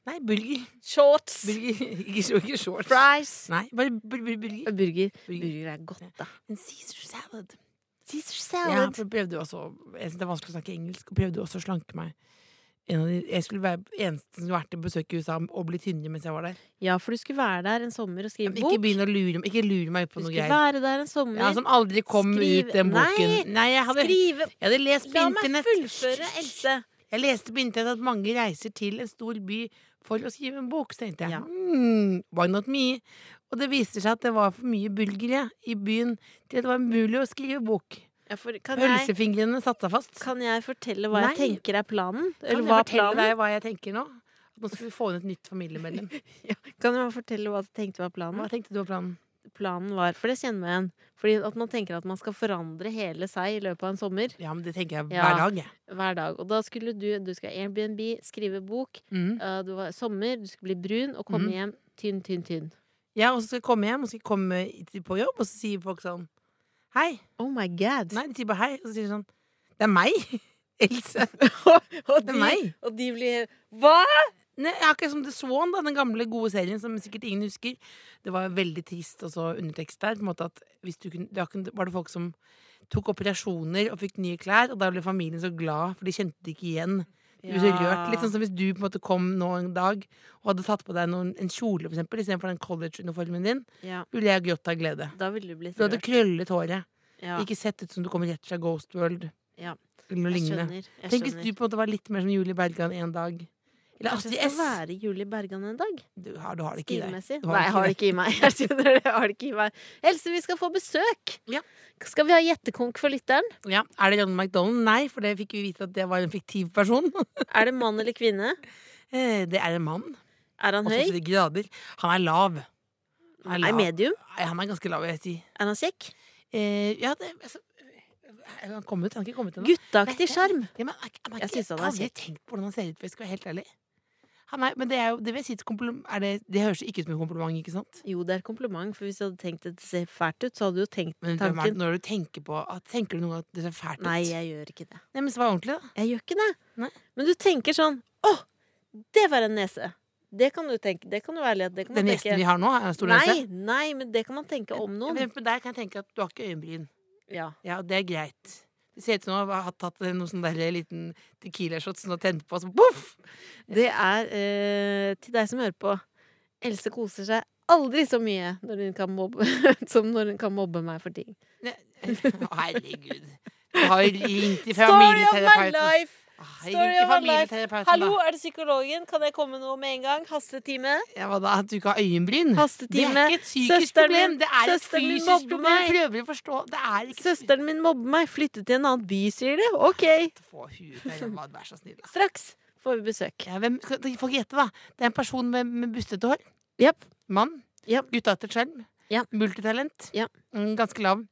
Speaker 4: Nei, bulger.
Speaker 3: shorts,
Speaker 4: bulger. Ikke, så- ikke shorts.
Speaker 3: fries.
Speaker 4: Nei, bare bul bul- bulger.
Speaker 3: Burger.
Speaker 4: Burger.
Speaker 3: Burger er godt, da.
Speaker 4: En Caesar salad.
Speaker 3: Caesar
Speaker 4: Ja,
Speaker 3: salad.
Speaker 4: for jeg prøvde jo også Jeg synes det er vanskelig å snakke engelsk, og prøvde jo også å slanke meg. En av de, jeg skulle være eneste som skulle vært til besøk i USA og bli tynnere mens jeg var der.
Speaker 3: Ja, for du skulle være der en sommer og skrive
Speaker 4: Men ikke
Speaker 3: bok.
Speaker 4: begynn å lure, ikke lure meg ut
Speaker 3: Du
Speaker 4: på noe
Speaker 3: skulle
Speaker 4: greier.
Speaker 3: være der en sommer.
Speaker 4: Ja, som aldri kom
Speaker 3: Skriv-
Speaker 4: ut, den boken.
Speaker 3: Nei,
Speaker 4: jeg, hadde,
Speaker 3: Skrive
Speaker 4: jeg hadde lest på
Speaker 3: La meg
Speaker 4: internett.
Speaker 3: fullføre, Else.
Speaker 4: Jeg leste på internett at mange reiser til en stor by for å skrive en bok. Så tenkte jeg
Speaker 3: Ja.
Speaker 4: hmm, why not me? Og det viste seg at det var for mye bulgere i byen til at det var umulig å skrive bok.
Speaker 3: Ja, for, kan, jeg,
Speaker 4: Pølsefingrene satte seg fast.
Speaker 3: kan jeg fortelle hva jeg
Speaker 4: Nei.
Speaker 3: tenker er planen?
Speaker 4: Kan
Speaker 3: Eller
Speaker 4: jeg
Speaker 3: hva er
Speaker 4: fortelle
Speaker 3: planen?
Speaker 4: deg hva jeg tenker nå? At nå skal vi få inn et nytt familiemedlem.
Speaker 3: Kan jeg fortelle hva jeg tenkte var planen?
Speaker 4: Hva tenkte du om planen?
Speaker 3: Planen var, For det kjenner jeg igjen. Fordi at man tenker at man skal forandre hele seg i løpet av en sommer.
Speaker 4: Ja, men det tenker jeg
Speaker 3: Ja.
Speaker 4: hver dag, jeg.
Speaker 3: Hver dag. Og da skulle du Du skal Airbnb, skrive bok,
Speaker 4: Mm.
Speaker 3: eh, du var sommer, du skulle bli brun og komme
Speaker 4: Mhm.
Speaker 3: hjem tynn, tynn, tynn.
Speaker 4: Ja, og så skal jeg komme hjem, og så skal jeg komme i- på jobb, og så sier folk sånn Hei.
Speaker 3: Oh my god!
Speaker 4: Nei, de sier bare hei. Og så sier de sånn Det er meg. Else.
Speaker 3: og,
Speaker 4: Det er
Speaker 3: de,
Speaker 4: meg.
Speaker 3: og de blir Hva?!
Speaker 4: Nei, jeg har ikke som The Swan, da, den gamle, gode serien som sikkert ingen husker. Det var veldig trist og så undertekst der. På en måte at hvis du kunne, da kunne, var det folk som tok operasjoner og fikk nye klær, og da ble familien så glad, for de kjente det ikke igjen. De ble så rørt, litt sånn som Hvis du på en måte kom nå en dag og hadde tatt på deg noen, en kjole for eksempel, istedenfor den collegeuniformen din,
Speaker 3: Ja,
Speaker 4: ville jeg grått av glede.
Speaker 3: da ville du blitt
Speaker 4: Du hadde
Speaker 3: rørt.
Speaker 4: krøllet håret.
Speaker 3: Ja,
Speaker 4: Ikke sett ut som du kommer rett fra Ghost World.
Speaker 3: Ja.
Speaker 4: Eller noe
Speaker 3: jeg
Speaker 4: lignende.
Speaker 3: skjønner. Jeg
Speaker 4: Tenk hvis
Speaker 3: skjønner.
Speaker 4: du på en måte var litt mer som Julie Bergan en dag. Eller
Speaker 3: Kanskje
Speaker 4: Astrid
Speaker 3: jeg
Speaker 4: S.
Speaker 3: skal være Julie Bergan en dag?
Speaker 4: Du har, du har det ikke i deg.
Speaker 3: Stilmessig?
Speaker 4: Du har
Speaker 3: Nei, jeg har det ikke i meg. Jeg skjønner det, jeg har det ikke i meg. Else, vi skal få besøk!
Speaker 4: Ja.
Speaker 3: Skal vi ha gjettekonk for lytteren?
Speaker 4: Ja, Er det Ronald McDonald? Nei, for det fikk vi vite at det var en fiktiv person.
Speaker 3: Er det mann eller kvinne?
Speaker 4: Eh, Det er en mann.
Speaker 3: Er han
Speaker 4: Og
Speaker 3: høy?
Speaker 4: 40 grader. Han er lav. Han
Speaker 3: Er medium?
Speaker 4: Nei, han er ganske lav, vil jeg si.
Speaker 3: Er han kjekk?
Speaker 4: Eh, ja, det altså, Er han kommet? Han er ikke kommet ennå.
Speaker 3: Gutteaktig
Speaker 4: Nei,
Speaker 3: sjarm.
Speaker 4: Ja, men er ikke- er
Speaker 3: Jeg
Speaker 4: ikke-
Speaker 3: synes han er
Speaker 4: har aldri
Speaker 3: kjekk.
Speaker 4: tenkt på hvordan han ser ut, for jeg skal være helt ærlig. Han er, men det er jo Det vil jeg si til kompliment er det, det høres jo ikke ut som en kompliment, ikke sant?
Speaker 3: Jo, det er kompliment, for hvis du hadde tenkt at det ser fælt ut, så hadde du jo tenkt
Speaker 4: Men hvem er det
Speaker 3: tanken.
Speaker 4: når du tenker på at, Tenker du noen gang at det ser fælt ut?
Speaker 3: Nei, jeg gjør ikke det.
Speaker 4: Nei, men så var det ordentlig, da.
Speaker 3: Jeg gjør ikke det.
Speaker 4: Nei.
Speaker 3: Men du tenker sånn Å, det var en nese! Det kan du tenke. Det kan du være litt. Det kan
Speaker 4: Den
Speaker 3: man
Speaker 4: gjesten vi
Speaker 3: tenke.
Speaker 4: har nå, er en stor
Speaker 3: Nei,
Speaker 4: nese.
Speaker 3: nei, men det kan man tenke om
Speaker 4: Ja,
Speaker 3: noen.
Speaker 4: men der kan jeg tenke at du har ikke øyenbryn.
Speaker 3: Ja.
Speaker 4: Ja, og det er greit. Det ser ut som om du har tatt noen sånn der liten tequila-shot som du har tent på, og så poff!
Speaker 3: Det er eh, til deg som hører på. Else koser seg aldri så mye når hun kan mobbe, som når hun kan mobbe meg for ting.
Speaker 4: Ne- Å, herregud. Du har jo ringt til
Speaker 3: Story of my
Speaker 4: familieterapeuten.
Speaker 3: life!
Speaker 4: Ah, jeg
Speaker 3: Story
Speaker 4: ringte
Speaker 3: of my life!
Speaker 4: familieterapeuten, da.
Speaker 3: Hallo, er det psykologen? Kan jeg komme nå med en gang? Hastetime?
Speaker 4: Ja, hva da? At du ikke har øyenbryn?
Speaker 3: Hastetime.
Speaker 4: Det er ikke et psykisk
Speaker 3: Søsteren
Speaker 4: problem,
Speaker 3: min-
Speaker 4: det er et
Speaker 3: søsteren min
Speaker 4: fysisk
Speaker 3: mobber
Speaker 4: problem.
Speaker 3: meg.
Speaker 4: Jeg prøver å forstå. Det er ikke
Speaker 3: Søsteren min mobber meg. Flytte til en annen by, sier du? OK.
Speaker 4: Få huet ut av ræva, vær så snill. da.
Speaker 3: Straks får vi besøk.
Speaker 4: Ja, hvem, skal dere få gjette, da. Det er en person med, med bustete hår.
Speaker 3: Japp.
Speaker 4: Mann.
Speaker 3: Ja.
Speaker 4: Gutta etter skjerm.
Speaker 3: Ja.
Speaker 4: Multitalent.
Speaker 3: Ja.
Speaker 4: Mm, Ganske lav.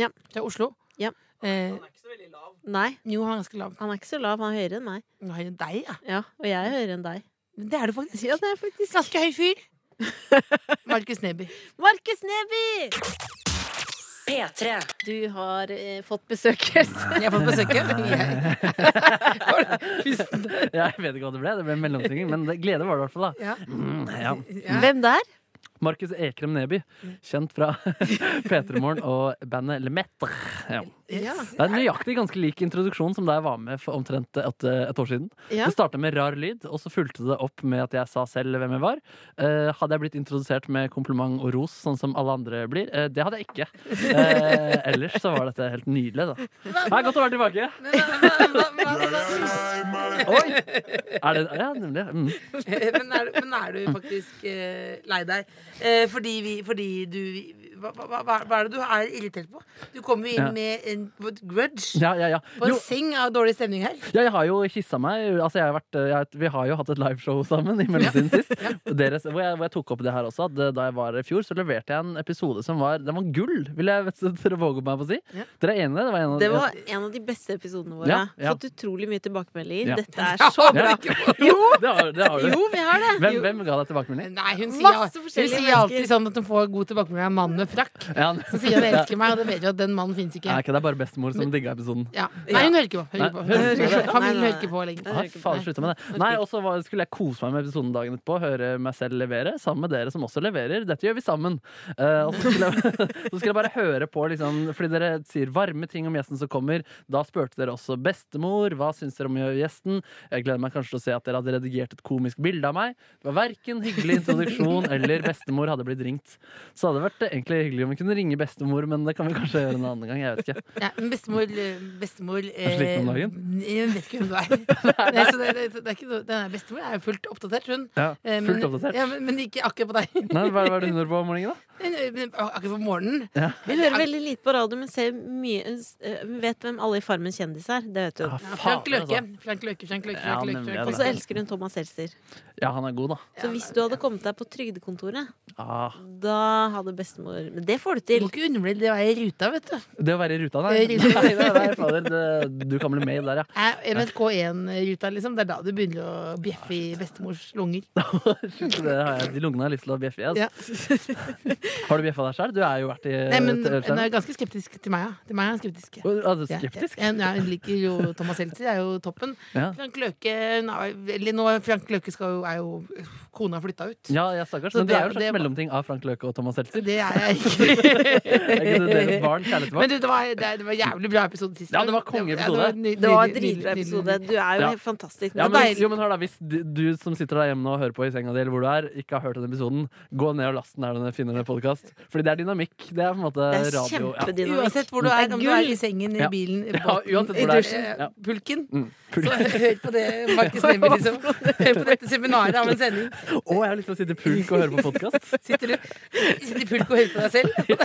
Speaker 3: Ja.
Speaker 4: Fra Oslo.
Speaker 3: Ja.
Speaker 4: Eh,
Speaker 5: Han er ikke så veldig lav.
Speaker 3: Nei,
Speaker 4: jo, han er ganske lav.
Speaker 3: han er ikke så lav. Han er høyere enn meg.
Speaker 4: Nå har jeg deg, ja.
Speaker 3: Ja, Og jeg er høyere enn deg.
Speaker 4: Det er du faktisk.
Speaker 3: Ja, det er faktisk
Speaker 4: Ganske høy fyr. Markus Neby.
Speaker 3: Markus Neby!
Speaker 1: P3.
Speaker 3: Du har eh, fått besøk, Else.
Speaker 4: Jeg har fått besøke. Jeg-
Speaker 7: Jeg vet ikke hva det ble, det ble en mellomting, men det, glede var det i hvert fall. da
Speaker 4: Ja.
Speaker 7: Mm, ja.
Speaker 4: Ja.
Speaker 3: Hvem der?
Speaker 7: Markus Ekrem Neby, kjent fra P3 Morgen og bandet Lemaitre. Ja.
Speaker 4: Ja.
Speaker 7: Det er en nøyaktig ganske lik introduksjon som da jeg var med for omtrent et, et år siden.
Speaker 3: Ja.
Speaker 7: Det starta med rar lyd, og så fulgte det opp med at jeg sa selv hvem jeg var. Eh, hadde jeg blitt introdusert med kompliment og ros, sånn som alle andre blir? Eh, det hadde jeg ikke. Eh, ellers så var dette helt nydelig, da. Det er godt å være tilbake. Oi! Er det, ja, nemlig. Mm.
Speaker 4: men, er, du- men er du faktisk eh, lei deg? Eh, fordi, vi, fordi du hva, hva, hva, hva er det du er irritert på? Du kommer jo inn
Speaker 7: Ja.
Speaker 4: med en på et grudge.
Speaker 7: Ja, ja, ja.
Speaker 4: På en
Speaker 7: Jo,
Speaker 4: seng av dårlig stemning her.
Speaker 7: Ja, jeg har jo kissa meg. Altså, jeg har vært, jeg, vi har jo hatt et liveshow sammen i mellomtiden sist. Deres, hvor, jeg, hvor jeg tok opp det her også. At eh, da jeg var i fjor, så leverte jeg en episode som var Den var gull, vil jeg vet, dere våge meg på å si.
Speaker 4: Ja.
Speaker 7: Dere er enige? Det var en av
Speaker 3: Det var en av de beste episodene våre.
Speaker 7: Ja, ja.
Speaker 3: Fått utrolig mye tilbakemeldinger.
Speaker 7: Ja.
Speaker 3: Dette er så bra!
Speaker 7: Ja.
Speaker 3: Jo,
Speaker 7: det har, det har du.
Speaker 3: jo vi har det!
Speaker 7: Hvem, hvem ga deg tilbakemelding?
Speaker 4: Nei, hun sier,
Speaker 3: Masse
Speaker 4: hun
Speaker 3: forskjellige
Speaker 4: sier
Speaker 3: mennesker.
Speaker 4: alltid sånn at hun får god tilbakemelding av mannen hun frakk
Speaker 7: Ja,
Speaker 4: som sier at jeg elsker meg, og det vet jo at den mannen fins ikke.
Speaker 7: Er ikke det bare bestemor som digga episoden?
Speaker 4: Ja. Nei, hun hører ikke på.
Speaker 7: Nei,
Speaker 4: Hører ikke på.
Speaker 7: hører
Speaker 3: på.
Speaker 7: ikke
Speaker 3: Nei,
Speaker 4: Familien
Speaker 3: nei,
Speaker 4: hører ikke på lenger.
Speaker 3: Nei.
Speaker 7: Nei, faen, slutta med det. Nei, og så var- skulle jeg kose meg med episoden dagen etterpå. Høre meg selv levere, sammen med dere som også leverer. Dette gjør vi sammen. Eh, og så skulle, jeg, så skulle jeg bare høre på, liksom, fordi dere sier varme ting om gjesten som kommer. Da spurte dere også bestemor. Hva syns dere om gjesten? Jeg gleder meg kanskje til å se at dere hadde redigert et komisk bilde av meg. Det var verken hyggelig introduksjon eller bestemor hadde blitt ringt. Så hadde det vært eh, egentlig hyggelig om vi kunne ringe bestemor, men det kan vi kanskje gjøre en annen gang. Jeg vet ikke.
Speaker 4: Ja, men bestemor eh, Bestemor eh,
Speaker 7: slik om dagen?
Speaker 4: Jeg vet ikke hvem du er. Nei, så det, det, det er ikke noe, denne bestemor er jo fullt oppdatert, hun.
Speaker 7: Ja,
Speaker 4: Eh, men-
Speaker 7: fullt oppdatert.
Speaker 4: Ja, men, men ikke akkurat på deg.
Speaker 7: Nei, hva hva er det hun gjør på om morgenen, da?
Speaker 4: Men, men Akkurat på morgenen.
Speaker 3: Hun hører veldig lite på radio, men ser mye, eh, hun vet hvem alle i Farmen kjendis er. Det vet hun.
Speaker 4: Ja,
Speaker 7: faen,
Speaker 4: Frank Løke.
Speaker 7: altså.
Speaker 4: Frank Løke, Frank Løke,
Speaker 7: Ja,
Speaker 4: Frank Løke,
Speaker 7: nemlig,
Speaker 4: Frank
Speaker 7: ja,
Speaker 3: Og
Speaker 4: Løke.
Speaker 3: så elsker hun Thomas Seltzer.
Speaker 7: Ja, han er god, da.
Speaker 3: Så hvis du hadde kommet deg på trygdekontoret,
Speaker 7: Ah.
Speaker 3: da hadde bestemor Men det får du
Speaker 4: Du må
Speaker 3: til.
Speaker 4: ikke undervurdere det å være i ruta, vet du.
Speaker 7: Det å være i ruta, nei.
Speaker 4: Eh, ruta.
Speaker 7: nei, nei, nei fader, det, du kan bli med der, ja.
Speaker 4: Er NRK1-ruta, liksom. Det er da du begynner å bjeffe i bestemors lunger.
Speaker 7: Shit, Det har jeg, de lungene har lyst til å bjeffe i. Altså.
Speaker 4: Ja.
Speaker 7: Har du bjeffa deg sjøl? Du er jo vært i
Speaker 4: Nei, men
Speaker 7: Eh, til-
Speaker 4: hun er ganske skeptisk til meg, ja. Til meg er hun skeptisk.
Speaker 7: Å, er du
Speaker 4: Ja,
Speaker 7: skeptisk?
Speaker 4: Ja, ja, hun liker jo Thomas Seltzer, er jo toppen.
Speaker 7: Ja.
Speaker 4: Frank Løke hun er jo veldig nå, Frank Løke skal jo, er jo Kona har flytta ut.
Speaker 7: Ja, ja, stakkars.
Speaker 4: Så
Speaker 7: Men det
Speaker 4: det-
Speaker 7: er jo en slags
Speaker 4: det-
Speaker 7: mellomting av Frank Løke og Thomas Seltzer.
Speaker 4: Det er jeg ikke.
Speaker 7: Er ikke det deres barn,
Speaker 4: Men
Speaker 7: kjærlighetsbarn?
Speaker 4: du, det var, det, det var jævlig bra episode sist.
Speaker 7: Ja, det var kongeepisode.
Speaker 4: ja, ny-
Speaker 3: Det var en
Speaker 4: nydelig, nydelig,
Speaker 3: dritbra
Speaker 4: nydelig,
Speaker 3: episode. Du er jo
Speaker 7: Ja.
Speaker 3: helt fantastisk.
Speaker 7: Ja,
Speaker 3: Det
Speaker 7: men,
Speaker 3: er
Speaker 7: jo, men hør da, Hvis du, du som sitter der hjemme nå og hører på i senga di, eller hvor du er, ikke har hørt den episoden, gå ned og last den der du finner den podkast. Fordi det er dynamikk. Det er på en måte
Speaker 3: Det er
Speaker 7: radio. Ja.
Speaker 4: nydelig.
Speaker 3: kjempedynamikk.
Speaker 4: Uansett hvor du
Speaker 3: Det
Speaker 4: er,
Speaker 3: er
Speaker 4: om du er
Speaker 3: gull.
Speaker 4: i sengen, i
Speaker 7: Ja.
Speaker 4: bilen, i
Speaker 7: Ja,
Speaker 4: båten,
Speaker 7: uansett
Speaker 4: i
Speaker 7: hvor det er.
Speaker 4: dusjen,
Speaker 7: Ja.
Speaker 4: pulken.
Speaker 7: Mm.
Speaker 4: Så hør på det Markus Neby, liksom. Hør på dette seminaret av en sending.
Speaker 7: Å, jeg har lyst til å sitte i pulk og høre på podkast.
Speaker 4: Sitter du sitter i pulk og hører på deg selv?
Speaker 7: Det